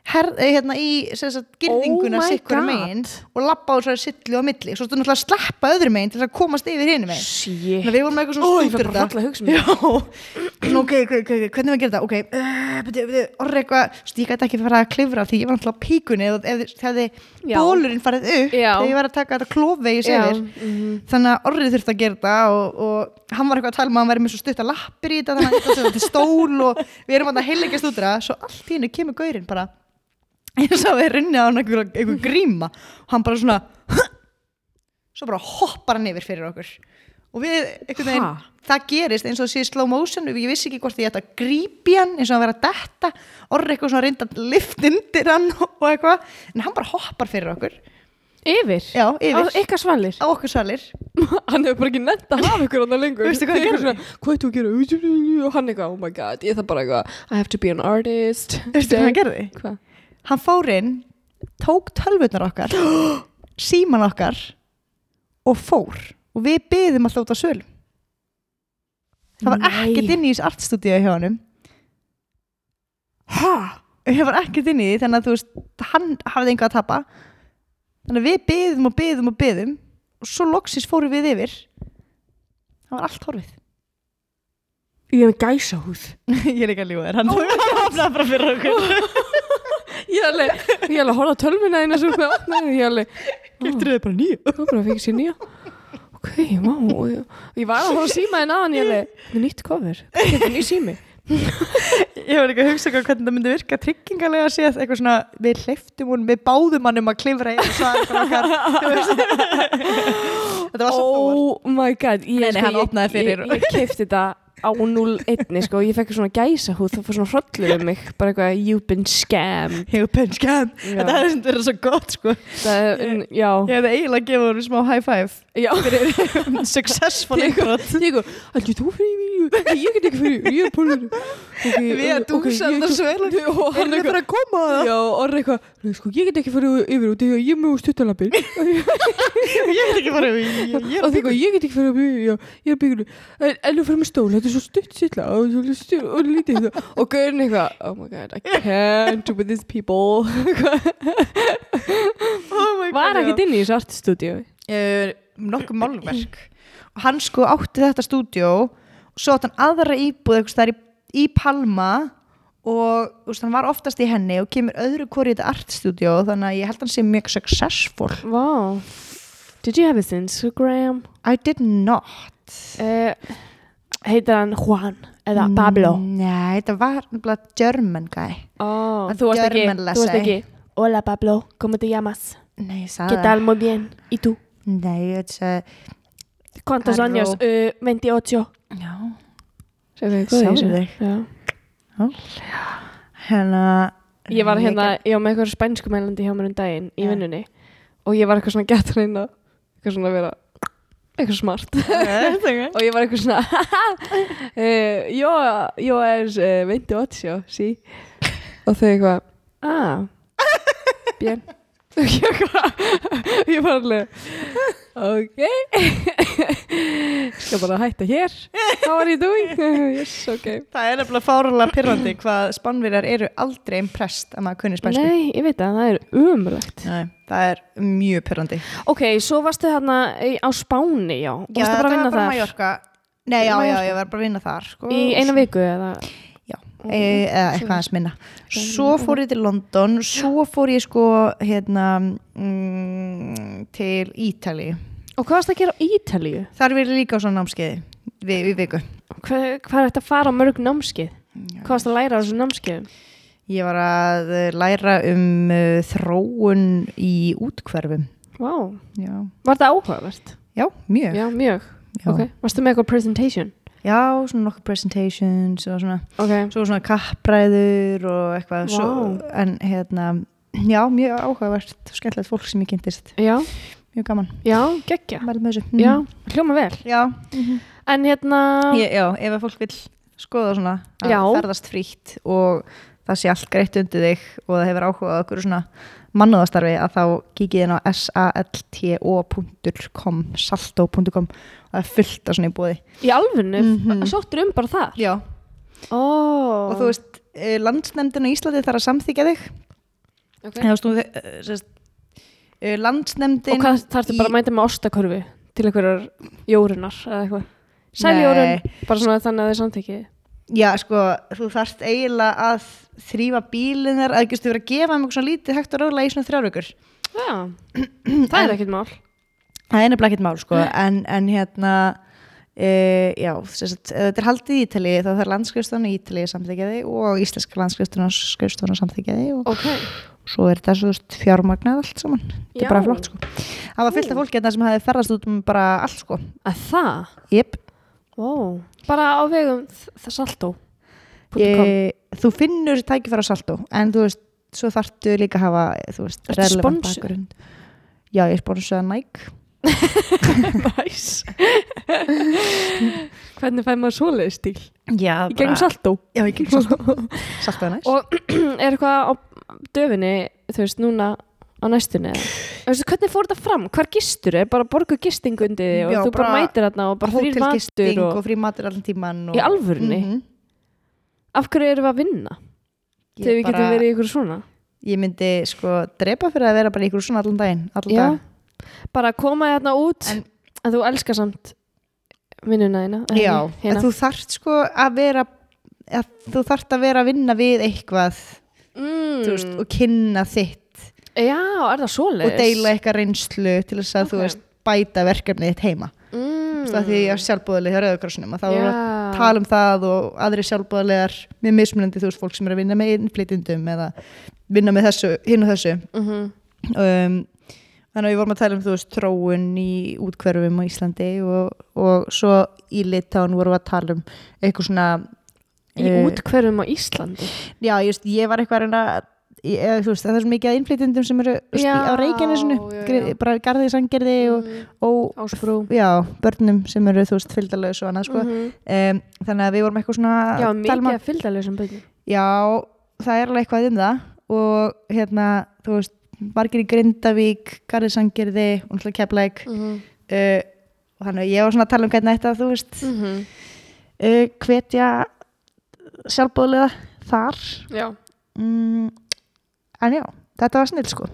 Speaker 3: her, eh, hérna í sem sagt, girðinguna
Speaker 4: Oh my
Speaker 3: sikkur
Speaker 4: God.
Speaker 3: megin og labba á svona sillu á milli svo þú náttúrulega að sleppa öðru megin til þess að komast yfir hinu megin
Speaker 4: Shit
Speaker 3: Þannig að við vorum eitthvað svona
Speaker 4: Ó, ég fæ
Speaker 3: stútur
Speaker 4: bara
Speaker 3: þetta.
Speaker 4: hroll að hugsa um þetta.
Speaker 3: Já, svona ok, ok, ok, ok, hvernig við gerum þetta, ok, uh, beti, beti, orra eitthvað, Svo ég gæti ekki fara að klifra því ég var náttúrulega á píkunni eða ef hefði
Speaker 4: Já.
Speaker 3: bólurinn farið upp
Speaker 4: Já.
Speaker 3: þegar ég var að taka þetta klófvegis yfir. Þannig að orrið þurfti að gera þetta og, og hann var eitthvað að tala um að hann væri með svo stutta lappir í þetta, þannig að hann eitthvað til stól og við erum að heilengja stúdra, svo allt í hennu kemur gaurinn bara, eins og við runni á hann einhver, einhver gríma og hann bara svona svo bara hoppar hann yfir fyrir okkur og við einhvern veginn
Speaker 4: Ha?
Speaker 3: það gerist eins og það sé í slow motion og ég vissi ekki hvort ég ætti að grípi hann eins og hann verið að detta orri eitthvað svona reynda að lift undir hann og eitthvað en hann bara hoppar fyrir okkur
Speaker 4: Yfir?
Speaker 3: Já, yfir.
Speaker 4: Á ykkar svalir
Speaker 3: á okkur svalir
Speaker 4: Hann hefur bara ekki nefnt að hafa ykkur annað lengur
Speaker 3: Veistu hvað hann
Speaker 4: Þið
Speaker 3: gerði?
Speaker 4: eitthvað svona, Hvað ættu að gera? Og hann eitthvað, oh my god, ég þarf bara eitthvað I have to be an artist
Speaker 3: Veistu hvað hann gerði?
Speaker 4: Hvað?
Speaker 3: hann fór inn, tók tölvurnar okkar síman okkar og fór og við byðum alltaf út á svölum það var
Speaker 4: Nei.
Speaker 3: ekkert inn í þess artstúdíu hjá honum
Speaker 4: Hæ?
Speaker 3: ég var ekkert inn í því þannig að þú veist hann hafði einhvað að tapa þannig að við byðum og byðum og byðum og svo loksins fórum við yfir það var allt horfið
Speaker 4: Ég hef gæsa húð
Speaker 3: ég er ekki að ljúa þér hann hafnaði bara fyrir okkur
Speaker 4: Ég er alveg, ég er alveg að horfa á tölvuna þína sem er með opnaði, ég er alveg,
Speaker 3: getur þið bara nýja
Speaker 4: hvað bara fengið sér nýja? Ok, má, og ég, og ég var að horfa á símaðin á hann, ég er alveg, með nýtt cover, með nýtt sími.
Speaker 3: ég var ekki að hugsa eitthvað hvernig það myndi virka tryggingalega séð eitthvað svona við hleyftum hún við báðum hann um að klifra yfir svaðan okkar Þú veist. þetta var svo dóar
Speaker 4: Oh my god, ég,
Speaker 3: Nei, nei, hann
Speaker 4: ég,
Speaker 3: opnaði fyrir.
Speaker 4: ég, ég kefti þetta á 0-1, sko, ég fekk svona gæsa húð, það fór svona hrollur um mig, bara eitthvað, you've been scammed.
Speaker 3: hefur penskam
Speaker 4: Já.
Speaker 3: þetta hefði sem verið svo gott sko ég
Speaker 4: Það, en, já,
Speaker 3: hefði eiginlega gefið hún smá high five
Speaker 4: já.
Speaker 3: successful
Speaker 4: Ég-
Speaker 3: inbrot
Speaker 4: Ég eitthvað, allir þú fyrir mig, ég get ekki fyrir, ég er pólur. Okay,
Speaker 3: Við að dúsa þetta svel
Speaker 4: og hann eitthvað,
Speaker 3: að koma
Speaker 4: Já, orðið eitthvað, "Nei, sko, ég get ekki farið yfir út, ég er mjög stuttalabir
Speaker 3: það Ég veit ekki bara Ég
Speaker 4: og það eitthvað, ég get ekki farið yfir, já, ég er byggur en, en þú fyrir með stól, þetta er svo stutt sýtla og, svo stu- og lítið eitthvað. og gaurin eitthvað, oh my god, I can't with these people Var ekki inn í þessu artistúdíu
Speaker 3: uh, Nokkuð málverk Og hann sko átti þetta stúdíó Og svo átti hann aðra íbúð Eitthvað stær í, í Palma Og þú veist, hann var oftast í henni Og kemur öðru hvori í þetta artstúdíó Þannig að ég held hann sé mjög successful
Speaker 4: Wow Did you have his Instagram?
Speaker 3: I did not
Speaker 4: Uh, heitir hann Juan eða
Speaker 3: Nei, þetta var nefnilega German guy
Speaker 4: oh,
Speaker 3: Hann
Speaker 4: Þú varst ekki,
Speaker 3: German
Speaker 4: þú varst
Speaker 3: lessay.
Speaker 4: ekki Hola Pablo, ¿cómo te llamas?
Speaker 3: Nei, ég
Speaker 4: ¿Qué
Speaker 3: sagði
Speaker 4: tal? Muy bien. ¿Y tú?
Speaker 3: Nei, ég veit ekki
Speaker 4: ¿Cuántos
Speaker 3: Arro.
Speaker 4: años? Eh, 28.
Speaker 3: Já. Sjáðu
Speaker 4: Sjáðu
Speaker 3: þig. Hérna.
Speaker 4: Ég var
Speaker 3: ég
Speaker 4: hérna, ég var með eitthvað spænsku mælandi hjá mér um daginn í vinnunni og ég var eitthvað svona gett að reyna eitthvað svona að vera eitthvað smart og ég var eitthvað svona eh, Jó, jó er eh, 28, sí og þau eitthvað Ah, bien Og ég eitthvað- ég var alveg ok skal bara hætta hér how are you doing yes, ok
Speaker 3: Það er nefnilega fárlega pyrrandi hvað spannverjar eru aldrei impressed að maður kunni spænsku.
Speaker 4: Nei, ég veit að það er umulegt
Speaker 3: Nei, það er mjög pyrrandi.
Speaker 4: Ok, svo varstu þarna í- á Spáni, já. Og varstu bara að vinna þar
Speaker 3: Mallorca. Nei, já, já,
Speaker 4: Mallorca.
Speaker 3: ég var bara að vinna þar. Sko.
Speaker 4: í eina viku eða? Mhm.
Speaker 3: Já, e,
Speaker 4: eh,
Speaker 3: eða eitthvað aðeins minna. Svo fór ég til London, svo fór ég sko hérna mm, til Ítali.
Speaker 4: Og hvað varstu að gera á Ítalíu?
Speaker 3: Þar verið líka á svona námskeiði við, við viku.
Speaker 4: Hvað, hvað er þetta að fara á mörg námskeið? Hvað varstu að læra á þessu námskeiðum?
Speaker 3: Ég var að eh, læra um uh, þróun í útkverfum.
Speaker 4: Vá,
Speaker 3: Já,
Speaker 4: var þetta áhugavert?
Speaker 3: já mjög.
Speaker 4: Já, mjög.
Speaker 3: Já.
Speaker 4: Ok, varstu með eitthvað presentation?
Speaker 3: já, svona nokkuð presentations og svona.
Speaker 4: Ok,
Speaker 3: svo svona kappræður og eitthvað svo,
Speaker 4: Vá.
Speaker 3: en hérna já, mjög áhugavert, og skemmtilegt fólk sem ég kynntist
Speaker 4: já,
Speaker 3: mjög gaman,
Speaker 4: já, geggja.
Speaker 3: mælum með þessu
Speaker 4: Já,
Speaker 3: Mhm.
Speaker 4: hljóma vel.
Speaker 3: já.
Speaker 4: En hérna,
Speaker 3: Ég, já, ef að fólk vil skoða svona að
Speaker 4: Já.
Speaker 3: ferðast frítt og það sé allt greitt undir þig og það hefur áhugað okkur svona mannúðastarfi að þá kíkið inn á salto.com salto.com og það er fullt af svona í búði
Speaker 4: í alfunni, mm
Speaker 3: Mhm.
Speaker 4: sóttur um bara þar.
Speaker 3: já,
Speaker 4: Ó.
Speaker 3: og þú veist, eh, landsnefndin á Íslandi þarf að samþykja þig
Speaker 4: Ok.
Speaker 3: eða stúð sérst, eh, landsnefndin
Speaker 4: Og hvað þarftu bara að mæta með ostakörfi til einhverjar jórunar eða eitthvað? Sæl
Speaker 3: Nei.
Speaker 4: jórun, bara svona þannig að þið samþykkið.
Speaker 3: já sko þú þarft eiginlega að þrýfa bílinn þar að gæstu verið að gefa um svona lítið hægt og ráðlega í svona þrjárvökur
Speaker 4: Já, það er ekkert mál.
Speaker 3: það er nefnilega ekkert mál sko en, en hérna Uh, já, sérst, ef þetta er haldið í Ítali þá þarf landskrifstofan í Ítali samþykjaði og íslenska landskrifstofan samþykjaði og
Speaker 4: Ok,
Speaker 3: svo er þetta svo þú veist, fjármagnað allt saman þetta
Speaker 4: Já.
Speaker 3: er bara flott sko það var fullt af fólki þetta sem hefði ferðast út um bara allt sko
Speaker 4: að það?
Speaker 3: yep.
Speaker 4: Ó, bara á vegum það saltó.
Speaker 3: ég, þú finnur tækifæra saltó en þú veist, svo þarftu líka að hafa þú veist,
Speaker 4: Ertu
Speaker 3: relevant
Speaker 4: sponsor?
Speaker 3: bakgrunn já, ég sponsa Nike
Speaker 4: Næs. Hvernig fær maður svoleiði stíl?
Speaker 3: já,
Speaker 4: Í gegnum saltó.
Speaker 3: já, ég gegn saltó saltó er næst
Speaker 4: Og er eitthvað á döfinni, þú veist, núna á næstunni? eða? Þú veist, Hvernig fór þetta fram? Hvar gistur er? Bara borguð gistingundi og
Speaker 3: Já,
Speaker 4: þú bara,
Speaker 3: bara
Speaker 4: mætir þarna og bara þrýr
Speaker 3: hótelgisting
Speaker 4: matur
Speaker 3: og,
Speaker 4: og...
Speaker 3: frí matur allan tíman og,
Speaker 4: Í alvörunni?
Speaker 3: Mhm.
Speaker 4: Af hverju erum við að vinna?
Speaker 3: Ég
Speaker 4: Þegar við
Speaker 3: bara-
Speaker 4: getum verið í ykkur svona?
Speaker 3: ég myndi sko drepa fyrir að vera bara ykkur svona allan daginn allan
Speaker 4: Já.
Speaker 3: dag
Speaker 4: Bara að koma þarna út en,
Speaker 3: En-
Speaker 4: þú elskar samt vinnuna þína. eða
Speaker 3: já,
Speaker 4: ekki, hérna.
Speaker 3: en
Speaker 4: Hina.
Speaker 3: þú þarft sko að vera að þú þarft að vera að vinna við eitthvað
Speaker 4: mm,
Speaker 3: þú veist, og kynna þitt
Speaker 4: Já, er það svoleiðis?
Speaker 3: og deila eitthvað reynslu til þess að þú
Speaker 4: Ok.
Speaker 3: veist bæta verkefnið þitt heima
Speaker 4: Mm,
Speaker 3: mm. það því ég er sjálfbúðalið hjá Rauðakrossinum að þá
Speaker 4: Já.
Speaker 3: voru að tala um það og aðri sjálfbúðaliðar með mismunandi þú veist fólk sem er að vinna með innflytjendum eða vinna með þessu, hinn og þessu
Speaker 4: mhm.
Speaker 3: um, þannig að við vorum að tala um þú veist þróun í útkverfum á Íslandi og, og svo í Litán vorum við að tala um eitthvað svona
Speaker 4: Í
Speaker 3: eh,
Speaker 4: útkverfum á Íslandi.
Speaker 3: já, just, ég var eitthvað að reyna að- ég- eða, þú veist, það er svo mikið að innflytjendum sem eru þú veist,
Speaker 4: Já,
Speaker 3: á Reykjanesinu,
Speaker 4: já, já.
Speaker 3: gre- bara garðið sangerði og,
Speaker 4: Mm,
Speaker 3: og
Speaker 4: Ásbrú.
Speaker 3: já, börnum sem eru þú veist fylgdalaus og annað sko
Speaker 4: Mhm.
Speaker 3: um, þannig að við vorum eitthvað svona
Speaker 4: Já,
Speaker 3: að tala um að-
Speaker 4: mikið að fylgdalið sem byrni.
Speaker 3: já, það er alveg eitthvað um það og hérna, þú veist margir í Grindavík, Garðisangjörði og náttúrulega Keflæk mm.
Speaker 4: Mhm,
Speaker 3: og þannig að ég var svona að tala um hvernig þetta þú veist,
Speaker 4: Mm. mhm.
Speaker 3: uh, hvetja sjálfbóðlega þar
Speaker 4: Já.
Speaker 3: mm, en já, þetta var snill sko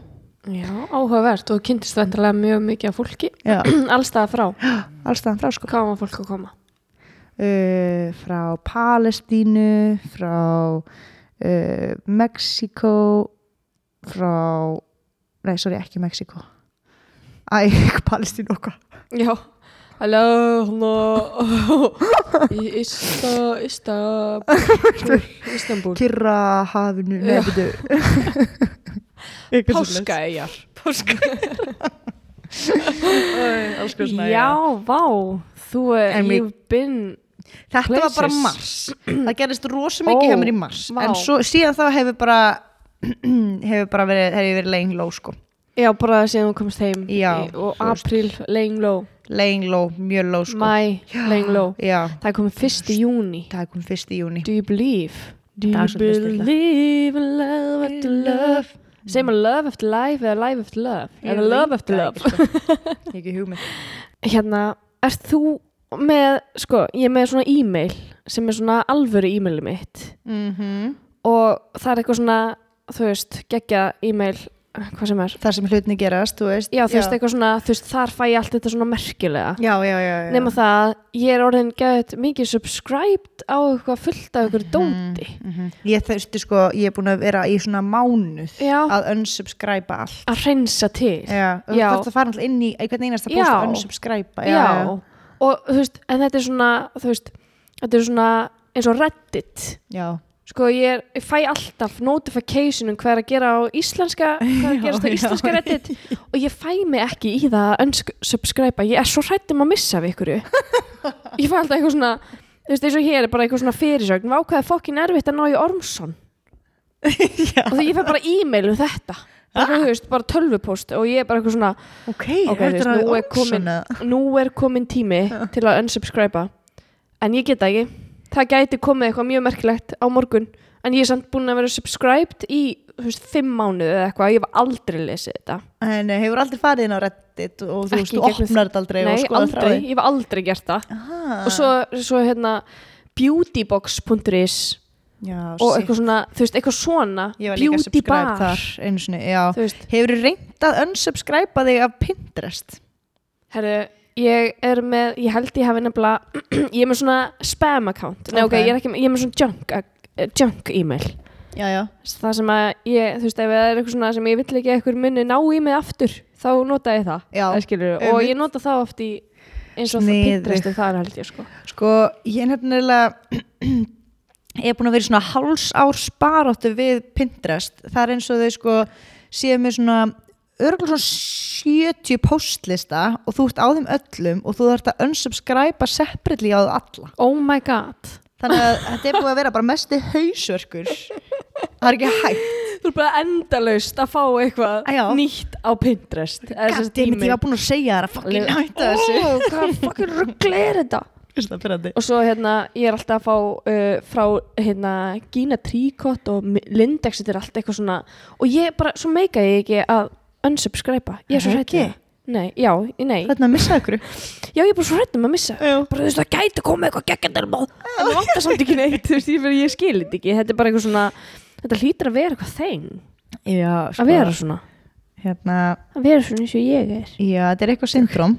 Speaker 4: Já, áhugavert og þú kynntist vendarlega mjög mikið af fólki.
Speaker 3: já,
Speaker 4: Allstaða frá.
Speaker 3: allstaðan frá sko
Speaker 4: Hvað var fólk að koma?
Speaker 3: uh, frá Palestínu, frá uh, Mexíkó, frá, nei, sorry, ekki Mexíkó. Æ, Palestínu og hvað?
Speaker 4: Já. Hello, no. Í Ista, Ista, Istanbul.
Speaker 3: Kirra hafinu,
Speaker 4: Já.
Speaker 3: nefndu.
Speaker 4: Páska eigar
Speaker 3: Páska Alls konar svona,
Speaker 4: Já, vá Þú er,
Speaker 3: En
Speaker 4: you've been
Speaker 3: Þetta var bara
Speaker 4: Places.
Speaker 3: mars Það gerist rosa mikið
Speaker 4: Ó,
Speaker 3: hjá mér í mars
Speaker 4: vá.
Speaker 3: En svo, síðan þá hefur bara hefur bara verið, hefur verið laying low sko
Speaker 4: Já, bara síðan þú komst heim
Speaker 3: Já,
Speaker 4: Í- Og
Speaker 3: þú veist.
Speaker 4: apríl, laying low
Speaker 3: laying low, mjög low sko
Speaker 4: Mæ, laying low
Speaker 3: Já,
Speaker 4: Það er komið fyrst í júni
Speaker 3: það kom fyrst í júni
Speaker 4: Do you believe? Do
Speaker 3: Þetta
Speaker 4: you
Speaker 3: er svolítið stilla.
Speaker 4: believe in love after love? Segir maður love after life eða life after love? Eða love after love?
Speaker 3: Ég ekki hugmynd
Speaker 4: Hérna, ert þú með, sko, ég er með svona e-mail sem er svona alvöru e-mailið mitt
Speaker 3: Mhm.
Speaker 4: og það er eitthvað svona, þú veist, geggja e-mail, hvað sem er.
Speaker 3: Það sem hlutni gerast, þú veist
Speaker 4: Já, þú veist, eitthvað svona, þú veist, þar fæ ég allt þetta svona merkilega.
Speaker 3: Já, já, já, já.
Speaker 4: Nefna það, að ég er orðin gæðið mikið subscribed á eitthvað fullt af eitthvað dóti.
Speaker 3: Mhm. Ég þurfti sko, ég er búin að vera í svona mánuð
Speaker 4: Já.
Speaker 3: að unsubscriba allt
Speaker 4: Að reynsa til.
Speaker 3: Já, og
Speaker 4: Já.
Speaker 3: það fara alltaf inn í einhvern einasta
Speaker 4: Já.
Speaker 3: búst að unsubscriba
Speaker 4: já, og þú veist, en þetta er svona þú veist, þetta er svona eins og reddit
Speaker 3: já,
Speaker 4: sko ég, er, ég fæ alltaf notification um hvað er að gera á íslenska hvað er að
Speaker 3: Já,
Speaker 4: gerast á
Speaker 3: já.
Speaker 4: íslenska reddit og ég fæ mig ekki í það að unsubscriba, ég er svo hrætt um að missa af ykkur ég fæ alltaf eitthvað svona þú veist, eins og hér er bara eitthvað svona fyrirsögn vá hvað er fokkin erfitt að ná í Ormsson
Speaker 3: já.
Speaker 4: og því ég fæ bara e-mail um þetta bara, þú veist, bara tölvupóst og ég er bara eitthvað svona
Speaker 3: Ok,
Speaker 4: ok,
Speaker 3: þetta
Speaker 4: þú
Speaker 3: er
Speaker 4: veist, nú er
Speaker 3: alveg
Speaker 4: komin
Speaker 3: ósana
Speaker 4: nú er komin tími til að unsubscriba en ég geta ekki það gæti komið eitthvað mjög merkilegt á morgun en ég er samt búin að vera subscribed í þú veist, fimm mánuð eða eitthvað ég hef aldrei lesið þetta
Speaker 3: En eh, hefur aldrei farið inn á Reddit og þú
Speaker 4: Ekki
Speaker 3: veist,
Speaker 4: í
Speaker 3: þú
Speaker 4: gegnum-
Speaker 3: opnar þetta aldrei
Speaker 4: nei,
Speaker 3: og skoða
Speaker 4: aldrei, ég hef aldrei gert það
Speaker 3: Ah,
Speaker 4: og svo, svo hérna beautybox.is
Speaker 3: já,
Speaker 4: og
Speaker 3: shit.
Speaker 4: eitthvað svona, þú veist, eitthvað svona
Speaker 3: Ég var líka
Speaker 4: beauty
Speaker 3: subscribe
Speaker 4: bar
Speaker 3: þar einu sinni, já.
Speaker 4: þú veist,
Speaker 3: Hefur reynd að unsubscriba þig af Pinterest?
Speaker 4: herru ég er með, ég held ég hafi nefnilega ég er með svona spam account nei,
Speaker 3: Ok.
Speaker 4: ok, ég er ekki með, ég er með svona junk, eh, junk email
Speaker 3: Já, já.
Speaker 4: það sem að ég, þú veist, ef það er eitthvað svona sem ég vill ekki að eitthvað munni ná í mig aftur þá nota ég það,
Speaker 3: Já,
Speaker 4: það skilur, og
Speaker 3: einmitt.
Speaker 4: ég nota það oft í eins og það
Speaker 3: Sniðugt.
Speaker 4: pittrestu þar held ég sko
Speaker 3: Sko, ég er nefnilega ég er búin að vera í svona háls ár sparáttu við Pinterest það er eins og þau sko séu með svona örgulega svona 70 postlista og þú ert á þeim öllum og þú þarft að unsubscriba separately á þau alla
Speaker 4: oh my god,
Speaker 3: þannig að þetta er búin að vera bara mesti hausverkur það er ekki hægt
Speaker 4: þú er bara endalaust að fá eitthvað
Speaker 3: Æ, já.
Speaker 4: nýtt á pintrest
Speaker 3: Goddammit, ég var búin að segja þér að fucking hætta þessu
Speaker 4: oh, hvað fucking ruggli er þetta
Speaker 3: Fyrsta pirrandi.
Speaker 4: og svo hérna, ég er alltaf að fá uh, frá hérna Gina Tricot og Mi- Lindex, þetta er allt eitthvað svona og ég bara, svo meika ég ekki að unsubscriba, ég er svo
Speaker 3: Er
Speaker 4: hrædd við
Speaker 3: ekki?
Speaker 4: það. Nei, já, nei,
Speaker 3: Hvernig að missa Hérna, ykkur?
Speaker 4: já ég er bara svo hrætt um að missa
Speaker 3: Já.
Speaker 4: bara þú veist það gæti komið eitthvað geggjandalmáð en það vantar samt ekki neitt, þú veist ég, bara- ég skilir þetta ekki þetta er bara eitthvað svona, þetta hlýtur að vera eitthvað þeng
Speaker 3: Já, sko,
Speaker 4: að vera svona,
Speaker 3: hérna,
Speaker 4: að vera svona eins og ég er
Speaker 3: já, þetta er eitthvað syndrom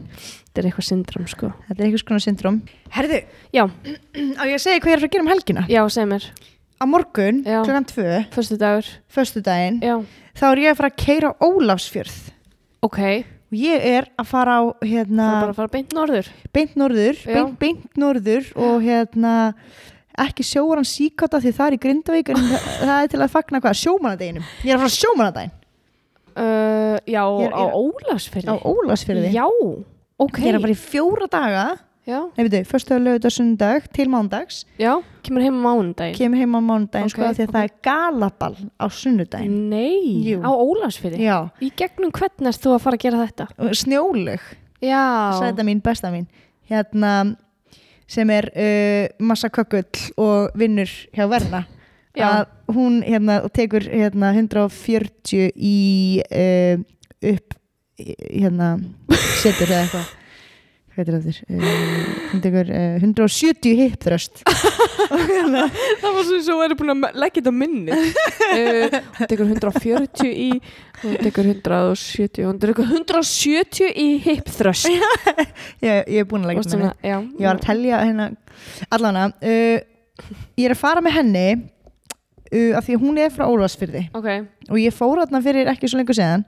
Speaker 4: þetta er eitthvað syndram sko
Speaker 3: Þetta er eitthvað skona syndrom Herðu,
Speaker 4: já,
Speaker 3: á ég að segja hvað ég er að fara að gera um helgina?
Speaker 4: já, segi mér,
Speaker 3: Á morgun,
Speaker 4: Já.
Speaker 3: klukkan 2,
Speaker 4: fyrstu dagur
Speaker 3: föstudaginn
Speaker 4: já,
Speaker 3: þá er ég að fara að keira á Ólafsfjörð
Speaker 4: ok,
Speaker 3: og ég er að fara á hérna,
Speaker 4: það er bara að fara beint norður
Speaker 3: beint norður
Speaker 4: Já.
Speaker 3: beint, beint norður og hérna ekki sjóran síkota því það er í Grindavík en það það er til að fagna hvað, sjómanadeginum ég er að fara á sjómanadegin
Speaker 4: Uh, já,
Speaker 3: Ég er-
Speaker 4: á
Speaker 3: ég er-
Speaker 4: Ólafsfyrði.
Speaker 3: á Ólafsfjörði
Speaker 4: Já, ok.
Speaker 3: ég er að fara í fjóra daga
Speaker 4: Já,
Speaker 3: Nei, veitu, föstu að lögut á sundag til mándags,
Speaker 4: já, kemur heim á mánudaginn.
Speaker 3: kemur heim á mánudaginn
Speaker 4: Ok,
Speaker 3: sko, af því að
Speaker 4: ok.
Speaker 3: það er galaball á sunnudaginn.
Speaker 4: Nei,
Speaker 3: Jú.
Speaker 4: á Ólafsfyrði.
Speaker 3: Já,
Speaker 4: Í gegnum hvern erst þú að fara að gera þetta?
Speaker 3: og snjólug.
Speaker 4: Já.
Speaker 3: sæta mín, besta mín hérna sem er uh, massa kökkull og vinnur hjá Verna
Speaker 4: Já.
Speaker 3: að hún hérna og tekur hérna 140 í uh, upp í- hérna setur eða eitthvað hvað heitir það þér? Uh, hún tekur uh, 170 hip thrust
Speaker 4: Það var svo sem verið búin að leggja þetta á minni. uh, hún tekur 140 í, hún tekur 170, hún tekur 170 í hip thrust.
Speaker 3: ég, ég er búin að leggja
Speaker 4: Og
Speaker 3: með henni
Speaker 4: svona, Já.
Speaker 3: ég var að telja hérna allana uh, ég er að fara með henni uh, af því að hún er frá Ólafsfyrði
Speaker 4: Ok,
Speaker 3: og ég fór hérna fyrir ekki svo lengur séðan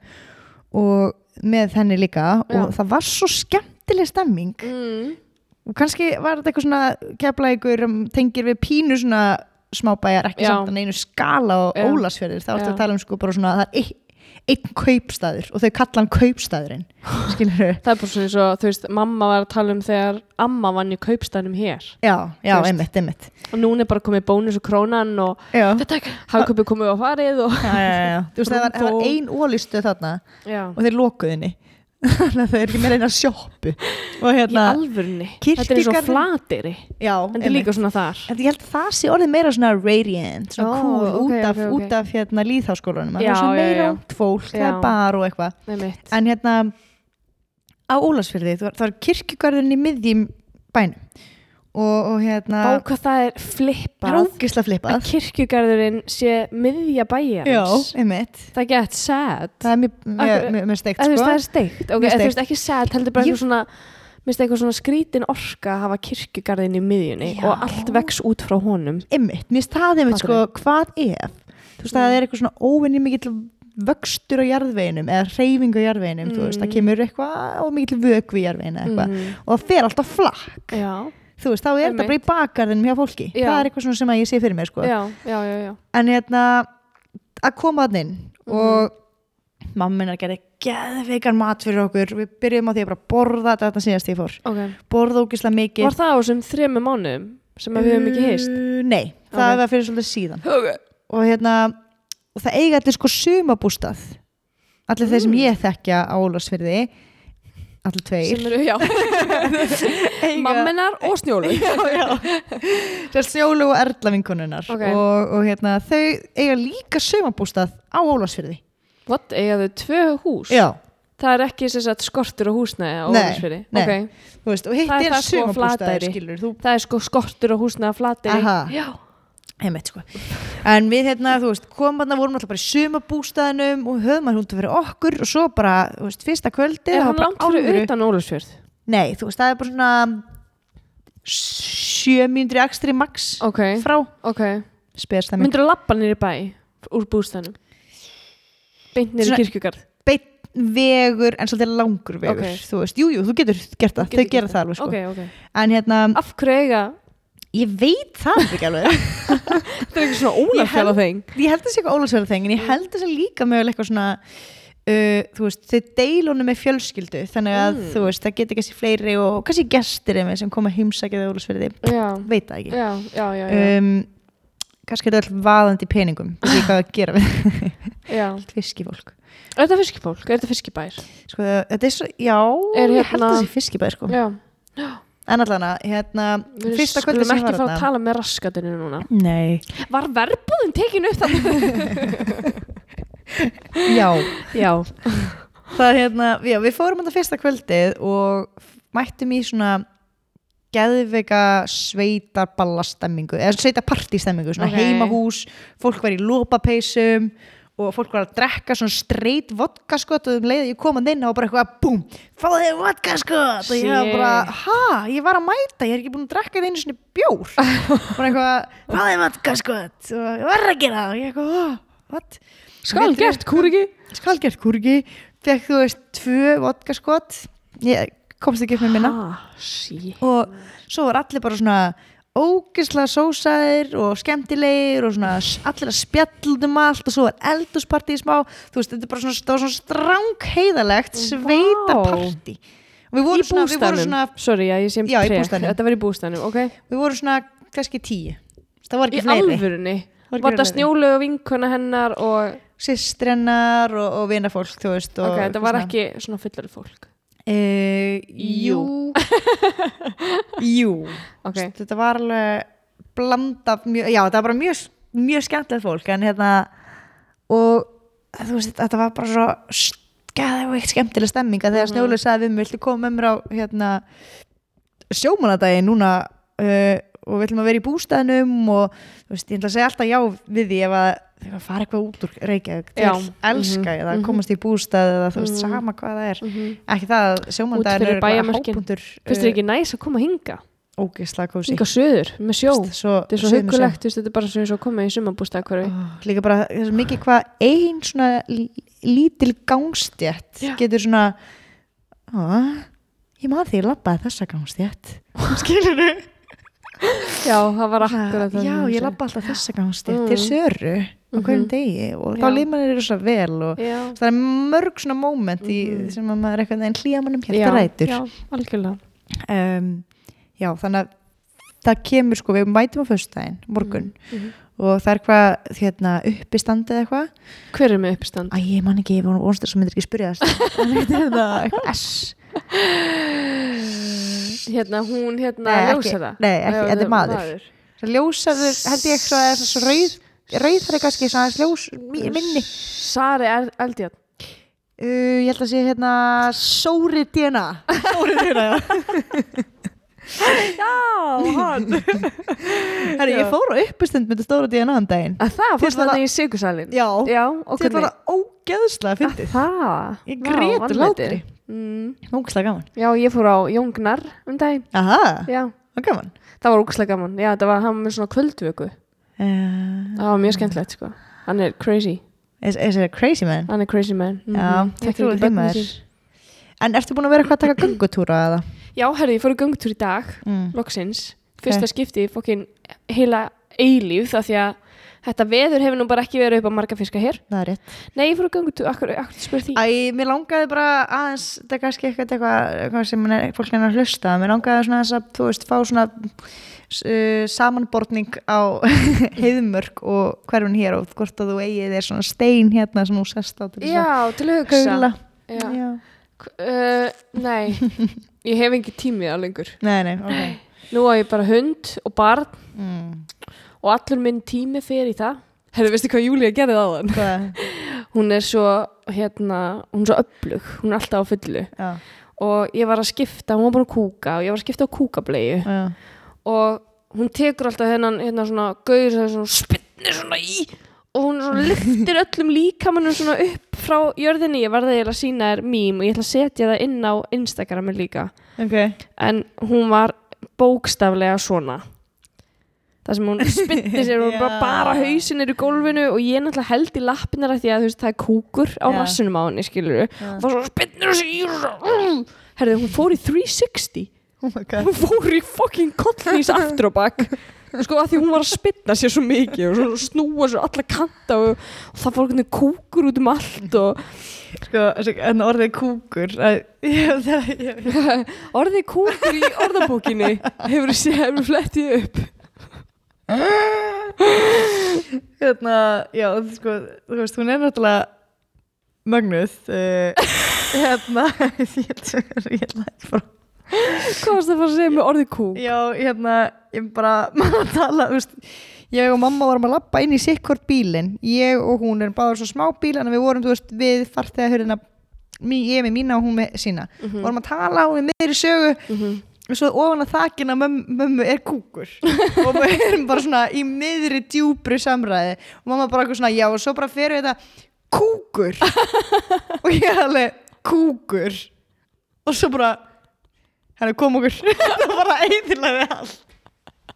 Speaker 3: og með henni líka og
Speaker 4: Já.
Speaker 3: það var svo skemmtileg stemming
Speaker 4: mm.
Speaker 3: og kannski var þetta eitthvað svona kefla ykkur tengir við pínu svona smábæjar ekki
Speaker 4: Já.
Speaker 3: samt að neinu skala og
Speaker 4: Já.
Speaker 3: ólasfjörðir það var
Speaker 4: Já.
Speaker 3: að tala um sko bara svona það er einn kaupstæður og þau kalla hann kaupstæðurinn skilur þau?
Speaker 4: Það er bara svona eins og, þú veist, mamma var að tala um þegar amma vann í kaupstænum hér.
Speaker 3: Já, já,
Speaker 4: Þú veist.
Speaker 3: einmitt, einmitt
Speaker 4: Og núna er bara komið bónus og krónan og
Speaker 3: Já, já,
Speaker 4: þetta hagköpið komið á farið og...
Speaker 3: já, já. Þú veist, það var, það var ein ólistuð þarna
Speaker 4: Já,
Speaker 3: og þeir lokuðinni þannig að þau eru ekki meira einn að sjoppu og
Speaker 4: í
Speaker 3: hérna,
Speaker 4: alvörni. Þetta er eins og
Speaker 3: Kirkjugarðurinn-
Speaker 4: flatiri.
Speaker 3: já,
Speaker 4: En þetta er líka svona þar.
Speaker 3: En ég held að það sé orðið meira svona radiant, svona
Speaker 4: Ó,
Speaker 3: cool,
Speaker 4: ok,
Speaker 3: út af,
Speaker 4: ok, ok.
Speaker 3: Út af hérna líðháskólanum. Það
Speaker 4: Já,
Speaker 3: er svona
Speaker 4: já,
Speaker 3: meira
Speaker 4: já.
Speaker 3: ungt fólk, það er
Speaker 4: Já.
Speaker 3: bar og eitthvað.
Speaker 4: Nei mitt.
Speaker 3: En hérna, á Ólasfyrði, það var, það var kirkjugarðurinn í miðjum bænum. Og, og hérna,
Speaker 4: Bá hvað það
Speaker 3: það
Speaker 4: er
Speaker 3: er
Speaker 4: flippað.
Speaker 3: ógisla
Speaker 4: Að
Speaker 3: flippað.
Speaker 4: kirkjugarðurinn sé miðja
Speaker 3: Já,
Speaker 4: bæjarins.
Speaker 3: einmitt.
Speaker 4: Það get sad.
Speaker 3: Það er mjög, mjög,
Speaker 4: Akkur-
Speaker 3: mjög, mjög steikt,
Speaker 4: Eða, þú veist,
Speaker 3: sko.
Speaker 4: það er steikt, ok,
Speaker 3: Mjög
Speaker 4: eða, þú
Speaker 3: steikt.
Speaker 4: veist ekki sad, heldur bara
Speaker 3: Ég-
Speaker 4: eitthvað svona minnst eitthvað svona skrítin orka að hafa kirkjugarðin í miðjunni
Speaker 3: Já.
Speaker 4: og allt vex út frá honum
Speaker 3: Einmitt, mér staði einmitt, sko,
Speaker 4: Fattar
Speaker 3: hvað ef? Þú
Speaker 4: Mm.
Speaker 3: veist, það er eitthvað svona óvinni mikill vöxtur á jarðveginum eða reyfing á jarðveginum, þú
Speaker 4: Mm.
Speaker 3: veist, það kemur eitthvað og mikill vögvi í jarðveginu eða eitthvað.
Speaker 4: Mhm.
Speaker 3: Og það fer alltaf flakk.
Speaker 4: já,
Speaker 3: þú veist, þá er þetta
Speaker 4: Einmitt.
Speaker 3: bara í bakgarðinum hjá fólki
Speaker 4: Já.
Speaker 3: það er eitthvað svona sem að ég sé fyrir mér sko.
Speaker 4: já, já, já, já.
Speaker 3: en hérna, að koma þann inn
Speaker 4: Mm.
Speaker 3: og mamma minna gerði geðveikar mat fyrir okkur við byrjum á því að bara borða þetta þetta síðast því ég fór
Speaker 4: Okay.
Speaker 3: borða ógislega mikið
Speaker 4: var það á þessum þremu mánuðum sem að við höfum ekki heist
Speaker 3: Uh, nei, það
Speaker 4: Ok.
Speaker 3: var fyrir svolítið síðan
Speaker 4: okay.
Speaker 3: og hérna, og það eiga allir sko sumabústað allir þeir
Speaker 4: Mm.
Speaker 3: sem ég þekkja á Ólafsfyrði allir tveir
Speaker 4: sem eru, já,
Speaker 3: Eiga-
Speaker 4: mammenar og snjólu
Speaker 3: Sérst Sjólu og Erla vinkonunnar
Speaker 4: Ok.
Speaker 3: og, og hérna, þau eiga líka sömabústað á Ólasfyrði
Speaker 4: what, eiga þau tvö hús
Speaker 3: Já,
Speaker 4: það er ekki sem sagt skortur og húsnæði á
Speaker 3: Nei,
Speaker 4: Ólafsfirði,
Speaker 3: nei.
Speaker 4: ok
Speaker 3: þú veist, og hitt
Speaker 4: Það er
Speaker 3: er
Speaker 4: það sko
Speaker 3: sömabústað
Speaker 4: Flateyri.
Speaker 3: skilur, þú
Speaker 4: það er sko skortur og húsnæði að flateri
Speaker 3: Aha.
Speaker 4: já,
Speaker 3: heimitt sko En við hérna, þú veist, komum þarna vorum alltaf bara í sömabústaðinum og höfum að hundu fyrir okkur og svo bara, þú veist, fyrsta kvöldi
Speaker 4: er hann langt fyrir utan Ólafsfjörð
Speaker 3: Nei, þú veist, það er bara svona sjö mínútur í akstri max
Speaker 4: ok,
Speaker 3: frá
Speaker 4: ok
Speaker 3: spesdæmi
Speaker 4: myndur þú lappa nýri bæ úr bústænum beint nýri
Speaker 3: Svona-
Speaker 4: kirkjugarð
Speaker 3: beinn vegur en svolítið langur vegur
Speaker 4: Ok.
Speaker 3: þú veist, jú, jú, þú getur gert það, þau
Speaker 4: Getur
Speaker 3: gera
Speaker 4: gert
Speaker 3: það alveg sko
Speaker 4: ok, ok,
Speaker 3: en hérna,
Speaker 4: af hverju eiga
Speaker 3: ég veit það er ekki alveg
Speaker 4: þetta er ekki svona Ólafsfjörða þeng
Speaker 3: ég held að sé eitthvað ólagsverða þeng en ég held að sé líka mögulega eitthvað svona uh, þú veist, þau deilunum með fjölskyldu þannig að
Speaker 4: Mm.
Speaker 3: þú veist, það geta kannski fleiri og kannski gestir einmitt sem koma heimsækjaði ólagsverði,
Speaker 4: já,
Speaker 3: veit það ekki
Speaker 4: já, Eh. já, já, já.
Speaker 3: um, kannski er það alltaf vaðandi í peningum ég veit ekki hvað að gera við
Speaker 4: já.
Speaker 3: fiskifólk
Speaker 4: Er þetta fiskipólk? Er þetta fiskibær?
Speaker 3: sko, þetta er svo, já,
Speaker 4: Er
Speaker 3: ég held
Speaker 4: hérna-
Speaker 3: að sé fiskibæð sko.
Speaker 4: Já,
Speaker 3: en allan að, hérna
Speaker 4: við
Speaker 3: fyrsta kvöldi
Speaker 4: skulum
Speaker 3: sem
Speaker 4: ekki
Speaker 3: var
Speaker 4: fara að
Speaker 3: þarna
Speaker 4: tala með raskatinu núna.
Speaker 3: nei,
Speaker 4: Var verbúðin tekin upp þannig?
Speaker 3: já
Speaker 4: Já.
Speaker 3: það er hérna, já, við fórum þetta fyrsta kvöldið og mættum í svona geðveika sveitarballastemmingu eða sveitarpartistemmingu, svona
Speaker 4: Ok.
Speaker 3: heimahús fólk var í lópapeysum og fólk var að drekka svona streit vodkaskot og um leið að ég kom að inn og bara eitthvað búm, fá þér vodkaskot og ég var bara, ha, ég var að mæta ég er ekki búin að drekka það einu svona bjór bara eitthvað, fá þér vodkaskot og ég var að gera það og ég eitthvað, "Ah, what
Speaker 4: Skal
Speaker 3: Getur-
Speaker 4: gert, kúriki.
Speaker 3: skalgjart kúrgi fekk þú veist tvö vodkaskot ég komst ekki upp með minna
Speaker 4: Ah, sí.
Speaker 3: og svo var allir bara svona ógislega sósaðir og skemmtilegir og svona s- allir að spjallum allt og svo var eldusparti í smá þú veist, þetta er bara svona, það var svona strang heiðalegt sveitaparti og við
Speaker 4: Í
Speaker 3: vorum svona, við vorum
Speaker 4: bústænum.
Speaker 3: svona,
Speaker 4: Sorry, já, ég sé um
Speaker 3: Já, í
Speaker 4: trek.
Speaker 3: bústaðnum.
Speaker 4: Þetta var í bústænum, ok.
Speaker 3: við vorum svona kannski tíu, það var
Speaker 4: Í
Speaker 3: ekki fleiri
Speaker 4: alvörunni.
Speaker 3: Var ekki
Speaker 4: Var það
Speaker 3: fleiri.
Speaker 4: snjólu og vinkona hennar og...
Speaker 3: systrennar og, og vinafólk, þú veist og
Speaker 4: Ok, þetta var
Speaker 3: svona.
Speaker 4: ekki svona fullari fólk.
Speaker 3: Uh, jú Jú
Speaker 4: Ok.
Speaker 3: Vist, Þetta var alveg blanda mjög, Já, þetta var bara mjög, mjög skemmtilegt fólk en hérna og þú veist, þetta var bara svo skæðveikt skemmtileg stemming að
Speaker 4: Mhm.
Speaker 3: þegar Snjólaug sagði við mig, viltu koma með mér á hérna sjómanadagi núna uh, og við ætlum að vera í bústæðnum og þú veist, ég ætla að segja alltaf já við því ef að þegar fara eitthvað út úr Reykjavík til
Speaker 4: Já. Mhm.
Speaker 3: elska mm eða komast í bústæð eða þú veist, sama hvað það er ekki það að sjómandagin
Speaker 4: Út
Speaker 3: er
Speaker 4: fyrir bæjarmörkin.
Speaker 3: hápundur
Speaker 4: Fyrst þér ekki næs að koma hinga?
Speaker 3: uh, ógeðslega kósi
Speaker 4: Hinga söður, með sjó. Þetta
Speaker 3: svo, Ah.
Speaker 4: er svo
Speaker 3: sömu sjó.
Speaker 4: hugulegt, þú veist, þetta er bara svo eins og að koma í sumabústæðakverfi.
Speaker 3: Ó, líka bara, það er svo mikið hvað ein svona l- lítil gangstjætt
Speaker 4: Já.
Speaker 3: getur svona á, ég maður því ég labbaði þessa gangstjætt skilur
Speaker 4: Já, það var akkurat
Speaker 3: já,
Speaker 4: það. sem
Speaker 3: ég
Speaker 4: sagði.
Speaker 3: Ah. labbaði alltaf þessa gangstjætt
Speaker 4: Mm.
Speaker 3: til Söru á hverjum degi og þá
Speaker 4: Já.
Speaker 3: líf mann er rosa vel og
Speaker 4: Já.
Speaker 3: það er mörg svona moment í,
Speaker 4: Mhm.
Speaker 3: sem að maður er eitthvað en hlýja mannum hjarta rætur
Speaker 4: Já, algjörlega.
Speaker 3: um, já, þannig að það kemur sko, við mætum á föstudaginn morgun og það er hvað hérna, uppistandi eða eitthvað
Speaker 4: Hver er með uppistand?
Speaker 3: Æ, ég man ekki, ef hún vonst þess að myndir ekki spyrja þess en þetta er það eitthvað S
Speaker 4: Hérna, hún, hérna,
Speaker 3: Nei, ekki-
Speaker 4: ljósa það.
Speaker 3: nei, ekki, þetta er maður. það ljósaður, held ég svo að þess að svo rauð rauð það er kannski svona aðeins ljós mi- minni
Speaker 4: Sari Er- Eldjárn.
Speaker 3: uh, ég held að sé hérna sóri DNA sóri DNA, já
Speaker 4: Já, hann.
Speaker 3: Herri, ég fór á uppistund með þetta stóra DNA hann daginn
Speaker 4: Að það, fórst
Speaker 3: var
Speaker 4: þannig
Speaker 3: það-
Speaker 4: í Sigursalinn.
Speaker 3: já,
Speaker 4: Já, og
Speaker 3: þetta var
Speaker 4: hvernig?
Speaker 3: það ógeðslega fyndið
Speaker 4: Það.
Speaker 3: Ég
Speaker 4: Vá,
Speaker 3: grét úr
Speaker 4: vanmetið.
Speaker 3: hlátri.
Speaker 4: Mm.
Speaker 3: ógeðslega gaman
Speaker 4: Já, ég fór á Jóngnar um daginn.
Speaker 3: aha,
Speaker 4: Já,
Speaker 3: það var gaman
Speaker 4: það var ógæslega gaman. Já, það var hann var með svona kvöldvöku.
Speaker 3: uh,
Speaker 4: Það var mjög skemmtilegt, sko. Hann er crazy.
Speaker 3: is, is it a crazy man
Speaker 4: Hann er crazy man. Mm
Speaker 3: já,
Speaker 4: Ég
Speaker 3: það
Speaker 4: trúi
Speaker 3: trúið Mhm. því maður en ertu búin að vera eitthvað að taka gangutúra eða
Speaker 4: Já, herri, ég fór í göngutúr í dag,
Speaker 3: mm.
Speaker 4: loksins. Fyrsta skipti í fokkin heila eilíf það því að þetta veður hefur nú bara ekki verið upp á marga fiska hér.
Speaker 3: það er rétt
Speaker 4: Nei, ég fór í göngutúr, akkur, akkur spyr því.
Speaker 3: Æ, mér langaði bara aðeins, þetta er kannski eitthvað, eitthvað, eitthvað sem man er, fólk er að hlusta, mér langaði svona þess að, þú veist, fá svona uh, samanbortning á heiðmörk og hverfin hér og hvort að þú eigið þér svona stein hérna sem þú sest á til þess að
Speaker 4: Já, til að
Speaker 3: gaula.
Speaker 4: hugsa. Já.
Speaker 3: Já.
Speaker 4: Uh, nei, ég hef ekki tímið á lengur.
Speaker 3: Nei, nei, ok.
Speaker 4: Nú á ég bara hund og barn
Speaker 3: Mm.
Speaker 4: og allur minn tími fer í það. Herri, veistu hvað Júlia gerði á þann?
Speaker 3: Hvað?
Speaker 4: Hún er svo, hérna, hún er svo öflug, hún er alltaf á fullu
Speaker 3: Já,
Speaker 4: og ég var að skipta, hún var bara að kúka og ég var að skipta á kúkablegu
Speaker 3: já.
Speaker 4: og hún tekur alltaf hennan, hérna svona gauður sem er svona spinnir svona í og hún svona lyftir öllum líkamannum svona upp frá jörðinni, ég varði eiginlega að sína þér mím og ég ætla að setja það inn á Instagramin líka
Speaker 3: Ok.
Speaker 4: en hún var bókstaflega svona það sem hún spytti sér og bara,
Speaker 3: Já.
Speaker 4: bara hausin er í gólfinu og ég náttúrulega held í lappinnar af því að þú veist það er kúkur á
Speaker 3: Já.
Speaker 4: rassinum á henni skilur og
Speaker 3: Já.
Speaker 4: var svona spytnir og sér herðu hún fór í 360
Speaker 3: Oh my god.
Speaker 4: hún fór í fucking kollnís aftur og bakk sko að því hún var að spytna sér svo mikið og svo snúa svo alla kanta og, og það fór einhvern veginn kúkur út um allt og
Speaker 3: Sko, þessi- en orðið kúkur, að, ég, það, ég,
Speaker 4: orðið kúkur í orðabókinni hefur sér flettið upp
Speaker 3: hérna, já, sko, þú veist, hún er náttúrulega mögnuð uh, hérna, ég ætla ég ætla ekki bara
Speaker 4: Hvað varst það að fara að segja með orðið kúk?
Speaker 3: já, hérna, ég bara maður að tala, þú veist ég og mamma varum að lappa inn í sikkort bílinn ég og hún erum báður svo smá bíl en við vorum, þú veist, við farþega hörðina ég með mína og hún með sína vorum að tala og við meðri sögu og svo ofan að þakin að mömmu, mömmu er kúkur og við erum bara svona í miðri djúpri samræði og mamma bara eitthvað svona já og svo bara fyrir þetta kúkur og ég er alveg kúkur og svo bara henni kom okkur það bara eðilaði allt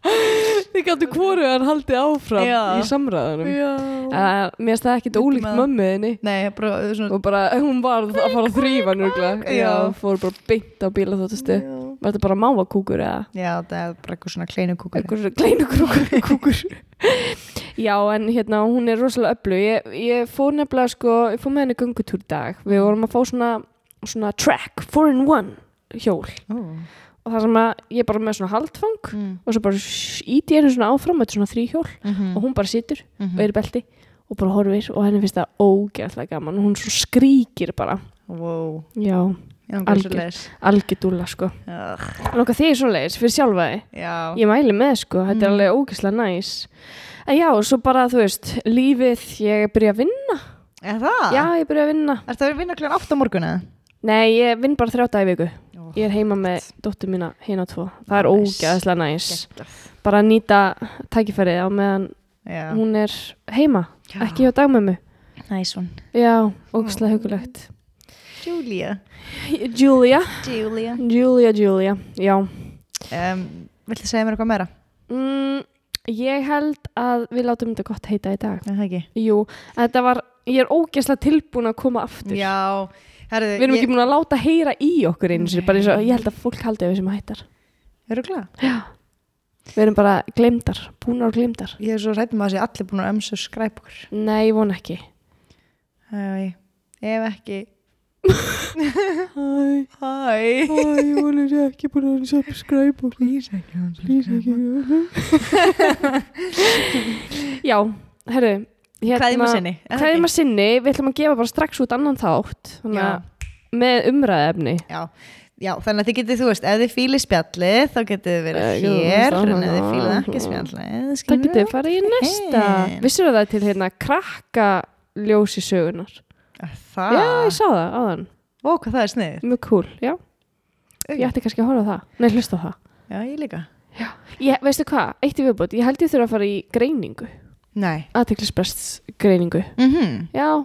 Speaker 4: Þið gætu hvoru að haldi áfram
Speaker 3: Já.
Speaker 4: í samræðanum.
Speaker 3: já.
Speaker 4: Uh, mér finnst það ekkit ólíkt
Speaker 3: maður.
Speaker 4: mömmuðinni
Speaker 3: nei, bara það er svona
Speaker 4: og bara eh, hún var að fara að þrýfa njörglega. Já,
Speaker 3: Já.
Speaker 4: fór bara beint á bíla þóttastu. Var þetta bara mávakúkur eða
Speaker 3: já, það er bara eitthvað svona kleinu kúkur
Speaker 4: einhver kleinu krúkur? kúkur. Já, en hérna, hún er rosalega öflug. Ég, ég fór nefnilega sko, ég fór með henni göngutúr í dag. Við vorum að fá svona, svona track, four in one hjól
Speaker 3: oh.
Speaker 4: og það sem að ég er bara með svona haldfang
Speaker 3: mm.
Speaker 4: og svo bara íti henni svona áfram þetta er svona þrý hjól
Speaker 3: Mm
Speaker 4: og hún bara situr
Speaker 3: Mhm.
Speaker 4: og er í belti og bara horfir og henni finnst það ógeðslega gaman og hún svo skríkir bara
Speaker 3: wow,
Speaker 4: já,
Speaker 3: ég langar
Speaker 4: Algjör.
Speaker 3: svo leis
Speaker 4: algjör dúlla sko Nóka þig svo leiðis fyrir sjálfa þig
Speaker 3: já, Mm.
Speaker 4: ég mæli með sko, þetta er alveg ógeðslega næs en já, svo bara þú veist lífið, ég byrja að vinna
Speaker 3: er það?
Speaker 4: já, ég byrja að vinna
Speaker 3: Er það að vinna kljóðan 8 á morgun eða?
Speaker 4: nei, ég vinn bara þrjá dag í viku
Speaker 3: Ó.
Speaker 4: ég er heima með dóttur mína hérna tvo það er
Speaker 3: Næs.
Speaker 4: ógeðslega næs bara að nýta tækifærið á meðan
Speaker 3: Já,
Speaker 4: hún er heima
Speaker 3: Já.
Speaker 4: ekki hjá dagmömmu
Speaker 3: næs hún
Speaker 4: Já, ógustlega hugulegt.
Speaker 3: Julia
Speaker 4: Julia,
Speaker 3: Julia
Speaker 4: Julia, Julia, já.
Speaker 3: um, Viltu segja mér eitthvað meira?
Speaker 4: Mm, ég held að við látum þetta gott heita í dag.
Speaker 3: Nei, það ekki
Speaker 4: Jú, þetta var, ég er ógeðslega tilbúin að koma aftur.
Speaker 3: Já, herðu
Speaker 4: Við erum ekki búin að láta heyra í okkur einu sér, bara eins og
Speaker 3: Nei.
Speaker 4: ég held að fólk haldi að við sem hættar.
Speaker 3: Eru glæð?
Speaker 4: Já, Við erum bara glemdar, búnar og glemdar
Speaker 3: Ég er svo rættum að þessi allir búin að ömsu skræpa okkur.
Speaker 4: Nei, ég vona ekki
Speaker 3: Æ, ef ekki.
Speaker 4: Æ,
Speaker 3: Hæ.
Speaker 4: ég vona þessi ekki búin að subscribe og
Speaker 3: Please ekki hann
Speaker 4: Já, herru hérna,
Speaker 3: Kveðjum að sinni, eða
Speaker 4: Kveðjum
Speaker 3: ekki?
Speaker 4: að hérna. sinni, við ætlum að gefa bara strax út annan þátt Þannig
Speaker 3: Já.
Speaker 4: að með umræðefni
Speaker 3: Já, já, þannig að þið getið, þú veist, ef þið fílið spjallið þá getið þið verið
Speaker 4: Eh, jú,
Speaker 3: hér
Speaker 4: það-
Speaker 3: en ef þið fílið ekki spjallið
Speaker 4: Það
Speaker 3: skilurðu?
Speaker 4: getur við farið í næsta
Speaker 3: Hey.
Speaker 4: Vissur það til hérna krakka ljósi sögunar
Speaker 3: Það,
Speaker 4: Já, ég sá það áðan
Speaker 3: ó, hvað það er sniður
Speaker 4: Mjög cool, já Ég ætti kannski að horfa á það Nei, hlusta á það
Speaker 3: Já, ég líka
Speaker 4: ég, Veistu hvað, eitt í viðbútt Ég held ég þurfa að fara í greiningu
Speaker 3: Nei
Speaker 4: Aðteklisbrests greiningu
Speaker 3: mm
Speaker 4: Já,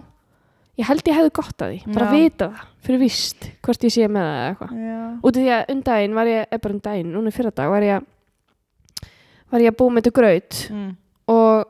Speaker 4: ég held ég hefði gott að því Bara
Speaker 3: Já.
Speaker 4: vita það, fyrir víst Hvort ég sé með það eða eitthvað
Speaker 3: Já,
Speaker 4: Út af því að undaginn var ég, eða bara undaginn Núna fyrir dag var ég Var ég að búa með þetta graut
Speaker 3: mm.
Speaker 4: og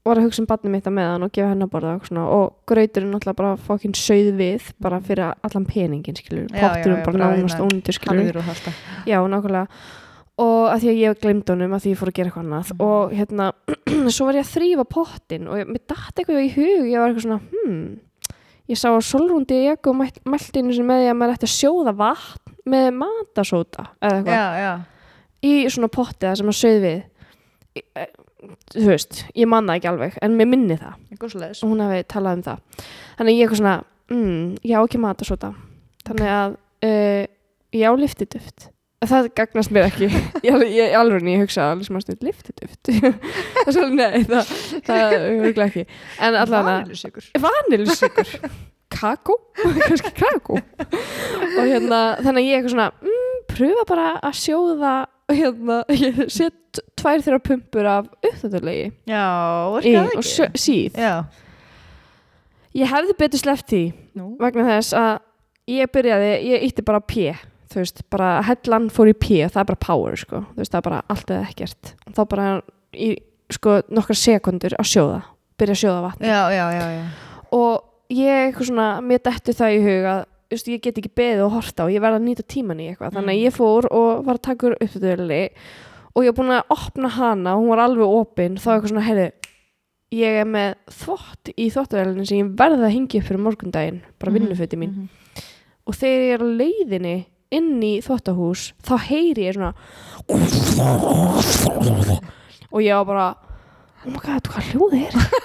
Speaker 4: var að hugsa um barnið mitt að meðan og gefa henn að borða og, svona, og grauturinn náttúrulega bara fokkin sauð við bara fyrir allan peningin skilur
Speaker 3: Já, já,
Speaker 4: potturinn
Speaker 3: já,
Speaker 4: bara
Speaker 3: bara
Speaker 4: nánast
Speaker 3: hérna,
Speaker 4: ónýtur skilur
Speaker 3: harður og halda
Speaker 4: já, nákvæmlega og að því að ég glemd honum að því ég fór að gera eitthvað annað
Speaker 3: Mm.
Speaker 4: og hérna, svo var ég að þrýfa pottin og ég, mér datt eitthvað í hug ég var eitthvað svona, hmm ég sá að solrúndi í ekku og mælt- mælti einu sinni með því að maður ætti að sjóða vatn með matasóta eða eitthvað
Speaker 3: Já, já,
Speaker 4: í svona potti það sem að sögð við Í- eh, þú veist, ég man það ekki alveg en mér minni það
Speaker 3: eitthvað slags
Speaker 4: og hún hafi talað um það þannig að ég eitthvað svona, mm, ég á ekki matasóta þannig að uh, ég á liftiduft það gagnast mér ekki ég, alveg- ég alveg ég hugsaði alveg sem að stund liftiduft það er svolítið nei, það, það er örugglega ekki en allavega
Speaker 3: Vanillusykur
Speaker 4: vanilsykur kakó, kannski kakó og hérna, þannig að ég eitthvað svona mm, pröfa bara að sjóða hérna, ég set tvær þeirra pumpur af upptöðulegi
Speaker 3: Já,
Speaker 4: í
Speaker 3: orkaði
Speaker 4: og
Speaker 3: ekki
Speaker 4: sjö- síð
Speaker 3: Já,
Speaker 4: ég hefði betur sleppt því
Speaker 3: nú
Speaker 4: vegna þess að ég byrjaði, ég ítti bara á P þú veist, bara hellan fór í P það er bara power, sko, þú veist, það er bara allt eða ekkert, og þá bara í sko nokkar sekundur að sjóða byrja að sjóða vatn
Speaker 3: Já, já, já, já
Speaker 4: og ég eitthvað svona, mér dættu það í hug að þú veist, ég get ekki beðið og horta og ég verð að nýta tíman í eitthvað þannig að ég fór og var að taka úr upptöðuðli og ég var búin að opna hana og hún var alveg opin þá eitthvað svona, heyrðu ég er með þvott í þvottuðalinn sem ég verði að hengja upp fyrir morgundaginn bara vinnuföti mín
Speaker 3: mhm.
Speaker 4: og þegar ég er á leiðinni inn í þvottahús þá heyri ég svona og ég var bara oh my god, hvað hljóðið er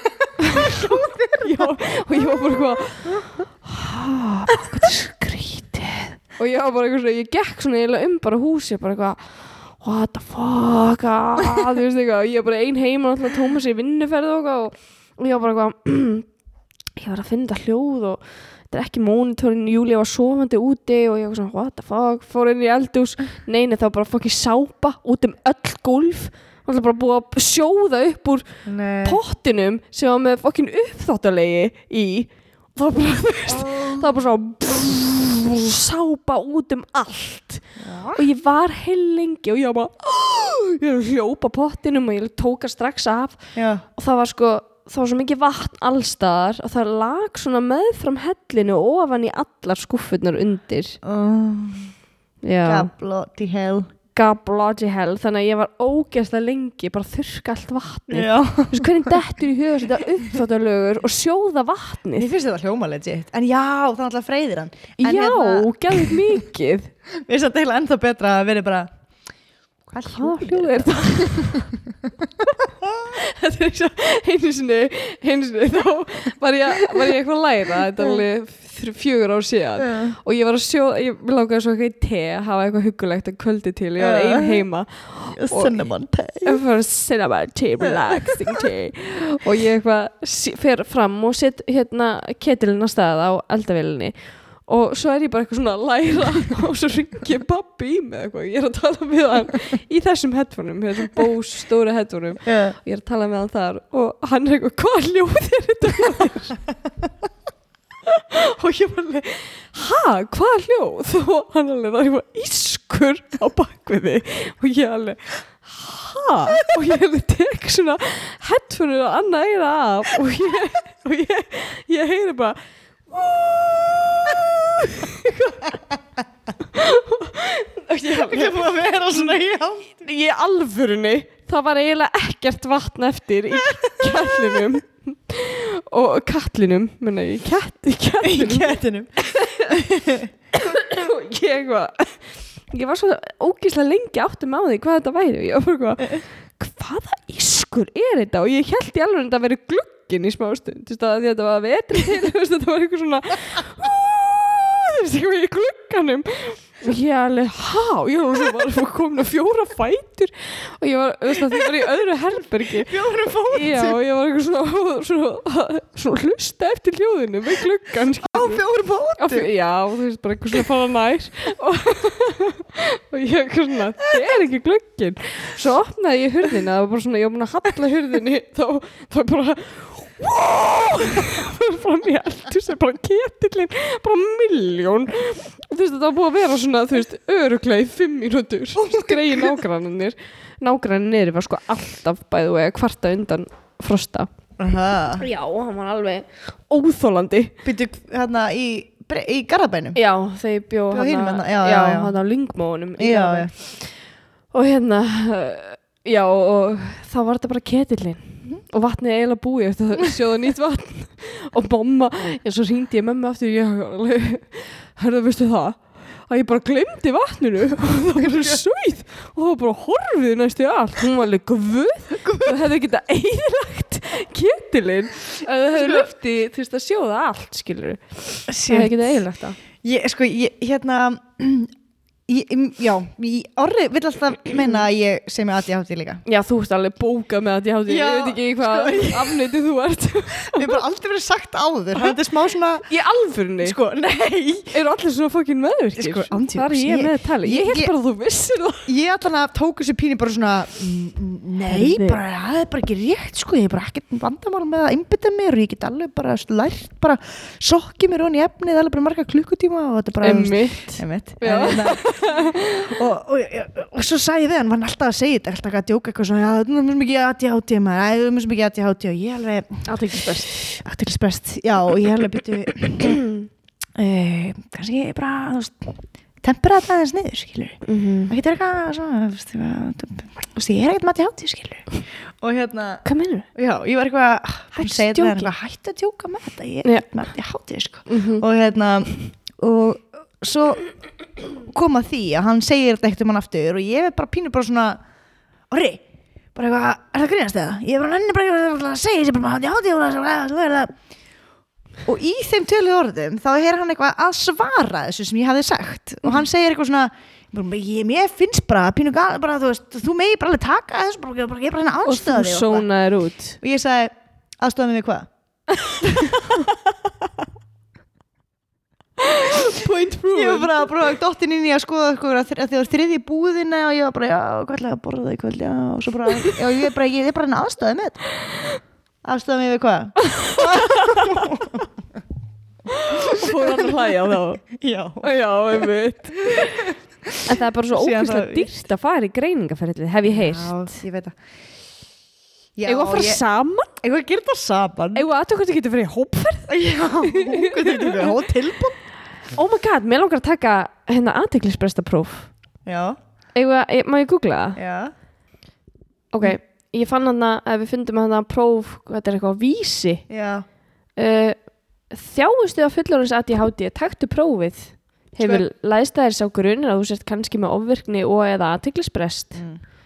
Speaker 4: Já, og ég var bara eitthvað "Ha, hvað er skrítið og ég var bara eitthvað svona, ég gekk svona eiginlega um bara húsið, bara eitthvað what the fuck ah, þú veist eitthvað, og ég er bara ein heima náttúrulega Tómas í vinnuferð og eitthvað og- og ég var bara eitthvað ég var að finna þetta hljóð og þetta er ekki mónitorinn, Júlia var sofandi úti og ég var svona, what the fuck, fór inn í eldhús neini, það var bara fokki sápa út um öll gólf Það var bara búið að sjóða upp úr
Speaker 3: Nei
Speaker 4: pottinum sem var með fokkin uppþáttalegi í og það var bara, þú veist, það var bara svo sápa út um allt og ég var heil lengi og ég var bara "Ah!" ég hljópa pottinum og ég tóka strax af
Speaker 3: Já,
Speaker 4: og það var sko það var svo mikið vatn allstaðar og það lag svona meðfram hellinu ofan í allar skúffurnar undir
Speaker 3: oh,
Speaker 4: Já,
Speaker 3: bloody hell
Speaker 4: gablaði hell þannig að ég var ógeðslega lengi bara að þurrka allt vatnið
Speaker 3: Já
Speaker 4: Þú veist, hvernig dettur í huga þetta uppþáttalögur og sjóða vatnið
Speaker 3: Mér finnst þetta hljóma legit En já, það náttúrulega freyðir hann En
Speaker 4: já,
Speaker 3: hérna-
Speaker 4: gæðið mikið
Speaker 3: Mér finnst þetta heila ennþá betra að vera bara Hvað
Speaker 4: hvað hljóð er það? þetta er eins og einu sinni, einu sinni þá var ég, var ég eitthvað að læra þetta er alveg þr- fjögur ár síðan og ég var að sjóða, ég langaði svo eitthvað í te að hafa eitthvað huggulegt að kvöldi til ég var
Speaker 3: Já.
Speaker 4: ein heima
Speaker 3: Cinnamon tea
Speaker 4: Ég fór að sinna bara tea, relaxing tea og ég eitthvað sí- fer fram og set hérna ketilinn að staða á eldavélinni og svo er ég bara eitthvað svona að læra og svo ringi pappi í mig eitthvað ég er að tala við hann í þessum headphoneum þessum bós stóru headphoneum
Speaker 3: yeah.
Speaker 4: ég er að tala með hann þar og hann er eitthvað hvað ljóð er þetta hjá þér?" og ég var alveg ha, hvað hljóð og hann alveg það er eitthvað ískur á bakvið þig og ég alveg ha og ég alveg tek svona headphone og annað eira af og ég, og ég, ég heyri bara
Speaker 3: Ég er búin að vera svona í hálf
Speaker 4: í alvörunni það var eiginlega ekkert vatn eftir í kjallinum og kallinum menna ég, kett,
Speaker 3: í
Speaker 4: í kallinum
Speaker 3: kettinum
Speaker 4: og ég var ég var svo ógíslega lengi áttum á því hvað þetta væri og ég var bara eitthvað, hvaða ískur er þetta og ég held í alveg að þetta veri glugginn í smá stund þú veist að því að þetta var vetri til þú veist þetta var eitthvað svona þú veist eitthvað í glugganum og ég alveg há ég var svo bara komin að fjóra fætur og ég var, þú veist að því var í öðru herbergi
Speaker 3: Fjórum fótum
Speaker 4: Já, og ég var eitthvað svona, svona, svona hlusta eftir hljóðinu með gluggan
Speaker 3: Á fjórum
Speaker 4: Á fjó-
Speaker 3: fótum
Speaker 4: Já, þú veist, bara eitthvað svona fara nær og, og ég eitthvað svona, það er ekki glugginn Svo opnaði ég hurðina, það var bara svona, ég var búin að halla hurðinni þá, þá bara Wow! fram í eldur sem bara ketillinn, bara milljón Þú veist, þetta var búið að vera svona, þú veist, öruglega í fimm mínútur Greið nágrannir Nágrannir var sko alltaf bæðu eða kvarta undan frosta
Speaker 3: Aha.
Speaker 4: Já, hann var alveg óþólandi
Speaker 3: Býttu hérna í, Bre- í garðabænum
Speaker 4: Já, þegar ég bjó
Speaker 3: Bjó hinum hérna, já, já, já.
Speaker 4: hann á lyngmónum
Speaker 3: Já, já.
Speaker 4: Og hérna, uh, já, og þá var þetta bara ketillinn og vatnið er eiginlega búið eftir það sjóða nýtt vatn og mamma, já, svo hringdi ég mömmu aftur ég alveg, herðu, veistu það að ég bara glemdi vatninu og það var bara sauð og það var bara horfið næstu í allt hún var alveg guð það hefði ekki þetta eðilagt ketilinn að það hefði löfti þú veist að sjóða allt skilur það hefði
Speaker 3: Shit.
Speaker 4: ekki þetta eðilagt það
Speaker 3: Ég, sko, ég, hérna ég, Já, ég orri vill alltaf meina að ég sem ég aðti hátti líka
Speaker 4: Já, þú ert alveg bókað með að ég hafði,
Speaker 3: Já,
Speaker 4: ég veit ekki hvað
Speaker 3: sko,
Speaker 4: sko, afneitið þú ert.
Speaker 3: Mér bara aldrei verið sagt áður Þetta er smá svona
Speaker 4: Í alfurni,
Speaker 3: Sko, nei
Speaker 4: eru allir svona fokkin meðvirkir?
Speaker 3: Sko, andjóks,
Speaker 4: Þar er ég,
Speaker 3: ég-
Speaker 4: með að tala. Ég
Speaker 3: ég-
Speaker 4: held bara að þú vissir það.
Speaker 3: Ég allan að tóku sér pínu bara svona mm, mm, Nei,
Speaker 4: Herðu.
Speaker 3: bara, það er bara ekki rétt sko Ég er bara ekkert vandamál með að einbytta mér og ég get alveg bara lært bara sokki mér onni í efnið alveg bara marga klukkutíma og þetta er bara
Speaker 4: Emmitt.
Speaker 3: Einmitt.
Speaker 4: Já.
Speaker 3: En, hérna, og, og, og, og svo sagði ég við hann, hann var alltaf að segja þetta, alltaf að djóka eitthvað svona, já, þú mjög mikið aðti hátíð maður, æ, þú mjög mikið aðti hátíð og ég alveg,
Speaker 4: Allt ekki spest.
Speaker 3: aðtilsprest, já, og ég alveg byttu, uh, kannski ég bara, þú veist, tempera þetta aðeins niður, skilur,
Speaker 4: Mm -hmm.
Speaker 3: það getur eitthvað svona, þú veist, ég bara, þú veist, ég er ekkert maður hátíð, skilur, og hérna,
Speaker 4: Hvað meinur þú?
Speaker 3: já, ég var eitthvað, "Ah,
Speaker 4: Hætt
Speaker 3: hann segið þetta,
Speaker 4: djóki.
Speaker 3: eitthvað, hætt að djóka með þetta, ég
Speaker 4: Já.
Speaker 3: er maður hátíð, sko, og hérna og svo kom að því að hann segir þetta ekkert um hann aftur og ég er bara pínu bara svona orri, bara eitthvað, er það að grínast eða? Ég er bara nenni bara ég að segja þessi bara hátti hátti og það er það og í þeim tölu orðum þá er hann eitthvað að svara þessu sem ég hafði sagt og hann segir eitthvað svona bara, ég, ég finnst bara, pínu gal, bara þú veist þú megi bara alveg taka þessu, bara, ég- bara, ég er bara hérna
Speaker 4: Og þú
Speaker 3: aðstöði
Speaker 4: sónaðir út.
Speaker 3: og ég sagði, aðstöða mig við hvað?
Speaker 4: Point
Speaker 3: Ég var bara að prófa að dottin inn í að skoða sko, að þri- að þið var þriði búðina og ég var bara, já, hvað ætlaði að borða í kvöld, já, og svo bara, já, ég er bara, ég er bara enn aðstöðið með þetta. Aðstöðið mig við hvað?
Speaker 4: Og fór hann að hlæja þá.
Speaker 3: Já.
Speaker 4: Já, einmitt. en það er bara svo
Speaker 3: Síðan
Speaker 4: ókvæmstlega
Speaker 3: þá-
Speaker 4: dýrt að fara í greiningaferðlið, hef ég heyrst.
Speaker 3: Já, ég veit það. Já,
Speaker 4: Eða að fara
Speaker 3: ég-
Speaker 4: saman?
Speaker 3: Eigum við að gera það saman?
Speaker 4: Eða að þú hvernig getur verið í hópferð?
Speaker 3: Já, hvað þetta er það, tilbúð?
Speaker 4: Oh my god, mér langar að taka hérna aðteglisbrestapróf.
Speaker 3: Já,
Speaker 4: Eða, má ég googla það?
Speaker 3: já.
Speaker 4: Ok, ég fann hann að við fundum hann að próf, þetta er eitthvað vísi.
Speaker 3: Já,
Speaker 4: Uh, þjáustu að fullorins ADHD, taktu prófið. Hefur læðst að þér sá grunir að þú sért kannski með ofvirkni og eða aðtiklisbrest.
Speaker 3: Mm.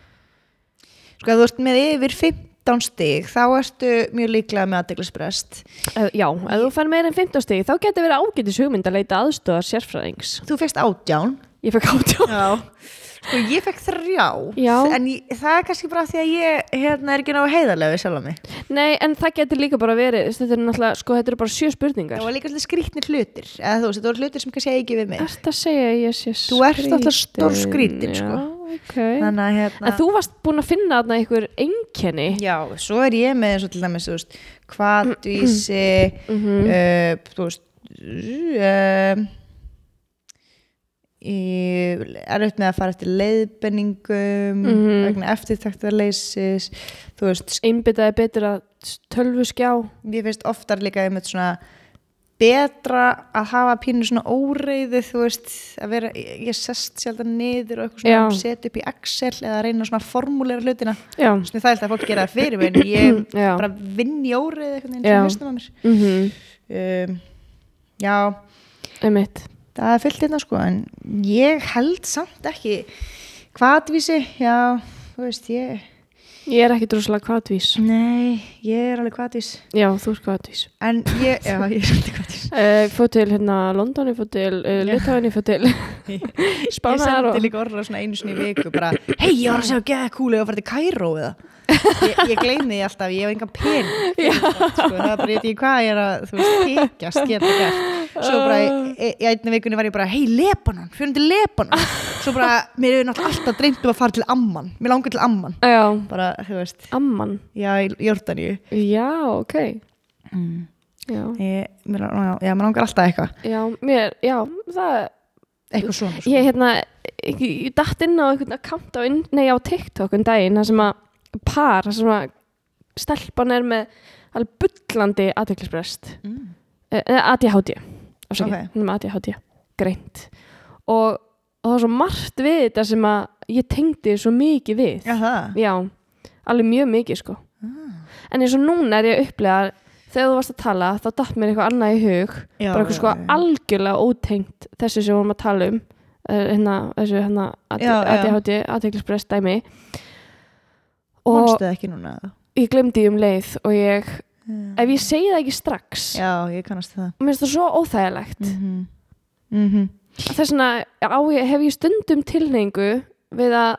Speaker 3: sko, ef þú ert með yfir 15 stig, þá ertu mjög líklega með aðdeglisbrest.
Speaker 4: Uh, já, ef þú fær meira en 15 stegi, þá getur verið ágætis hugmynd að leita aðstöðar sérfræðings.
Speaker 3: Þú fegst átján.
Speaker 4: Ég fekk átjá.
Speaker 3: Já, sko ég fekk þrjá
Speaker 4: Já.
Speaker 3: En ég, það er kannski bara því að ég hérna er ekki ná heiðarlega við sjálf á mig
Speaker 4: Nei, en það getur líka bara verið, þetta er náttúrulega, sko, þetta eru bara sjö spurningar.
Speaker 3: Það var líka svolítið skrítnir hlutir eða þú veist, þetta voru hlutir sem kannski ég ekki við mig
Speaker 4: Ertu að segja að ég sé
Speaker 3: Þú ert alltaf stór skrítin, sko.
Speaker 4: Já, ok.
Speaker 3: Þannig að hérna
Speaker 4: En þú varst búin að finna þarna einhver einkenni
Speaker 3: Já, svo er ég með eins og til dæmis, þú veist hvatvísi uh, þú veist uh, er upp með að fara eftir leiðbenningum
Speaker 4: Mhm.
Speaker 3: vegna eftirtaktarleysis þú veist,
Speaker 4: einbyttaði betur að tölvu skjá
Speaker 3: Mér finnst oftar líka einmitt svona betra að hafa pínu svona óreiði þú veist, að vera, ég, ég sest sjaldan niður og eitthvað
Speaker 4: Já.
Speaker 3: svona, setja upp í Excel eða reyna svona að formúlera hlutina
Speaker 4: já,
Speaker 3: svona það er það að fólk gera það fyrir mig en ég
Speaker 4: Já.
Speaker 3: bara vinn í óreiði eitthvað eins
Speaker 4: Já.
Speaker 3: og veistum að mér
Speaker 4: mm
Speaker 3: um, já,
Speaker 4: einmitt
Speaker 3: það er fyllt hérna sko en ég held samt ekki hvatvísi, já þú veist, ég,
Speaker 4: Ég er ekki droslega kvatvís
Speaker 3: nei ég er alveg hvatvís
Speaker 4: Já, þú ert kvatvís
Speaker 3: en ég, já, ég er alveg hvatvís
Speaker 4: uh, Fóð til hérna London, ég fóð til uh, Litáin, ég fóð til
Speaker 3: Ég
Speaker 4: Spánar og
Speaker 3: sendi líka orra svona einu sinni í viku bara, hei, ég var að segja að geða kúli og farið til Kæró eða ég, ég gleymi því alltaf, ég hef engan pen sko, það er bara, ég veit ekki hvað ég er að þú veist, tekjast, geta gert svo bara, í, í einni vikunni var ég bara hei, Lebanon, fyrir til Lebanon svo bara, mér hefur náttúrulega alltaf dreymt um að fara til Amman mér langar til Amman
Speaker 4: Já,
Speaker 3: bara, þú veist,
Speaker 4: amman
Speaker 3: já, í Jórdaníu
Speaker 4: Já, ok
Speaker 3: mm.
Speaker 4: Já,
Speaker 3: ég, mér, já, já, mér langar alltaf eitthvað
Speaker 4: já, mér, já það
Speaker 3: eitthvað svona, sko. svona.
Speaker 4: Ég hérna, ég, ég datt inn á einhvern account á, inn- nei, á TikTok um daginn þar sem að par, þar sem að stelpan er með alveg bullandi aðteglisbrest
Speaker 3: Mm.
Speaker 4: Eh, eða ADHD afsakið,
Speaker 3: Ok.
Speaker 4: hún er með ADHD, greint og, og það var svo margt við þetta sem að ég tengdi svo mikið við
Speaker 3: já, það
Speaker 4: Já, alveg mjög mikið sko
Speaker 3: Ah.
Speaker 4: en eins og núna er ég að upplega þegar þú varst að tala þá datt mér eitthvað annað í hug
Speaker 3: Já,
Speaker 4: bara eitthvað
Speaker 3: já,
Speaker 4: sko
Speaker 3: já.
Speaker 4: algjörlega ótengt þessu sem við vorum að tala um eh, hérna, þessu hérna
Speaker 3: Já, já.
Speaker 4: ADHD, aðteglisbrest dæmi og
Speaker 3: mannstu það ekki núna
Speaker 4: ég glemdi um leið og ég,
Speaker 3: Já.
Speaker 4: ef ég segi það ekki strax
Speaker 3: Mm. já, ég kannast við það
Speaker 4: mér finnst það svo óþægilegt
Speaker 3: mm -hmm.
Speaker 4: Mhm. þess vegna á, ég- hef ég stundum tilhengu við að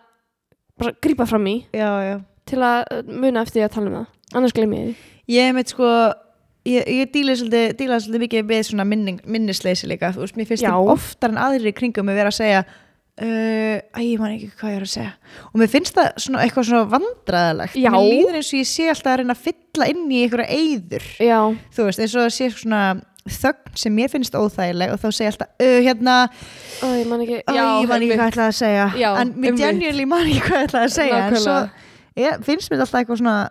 Speaker 4: bara grípa fram í
Speaker 3: já, já
Speaker 4: til að eh, muna eftir því að tala um það annars glemir ég
Speaker 3: ég meit sko ég, ég díla svolítið, díla svolítið mikið með svona minning, minnisleysi líka þú veist, mér finnst
Speaker 4: Já.
Speaker 3: ég oftar en aðrir í kringum að vera að segja uh, æ, ég man ekki hvað ég er að segja og mér finnst það svona, eitthvað svona vandræðalegt
Speaker 4: Já.
Speaker 3: mér líður eins og ég sé alltaf að reyna að fylla inn í einhverja eyður
Speaker 4: því já,
Speaker 3: þú veist, eins og það sé svona þögn sem mér finnst óþægileg og þá segja alltaf, uh, hérna
Speaker 4: Ó, ég man ekki
Speaker 3: Æ, ég man ekki
Speaker 4: einmitt.
Speaker 3: hvað ég ætlaði að segja
Speaker 4: Já,
Speaker 3: en mér
Speaker 4: einmitt.
Speaker 3: genuinely man ekki hvað ég ætlaði að segja en svo ég, finnst mér alltaf eitthvað svona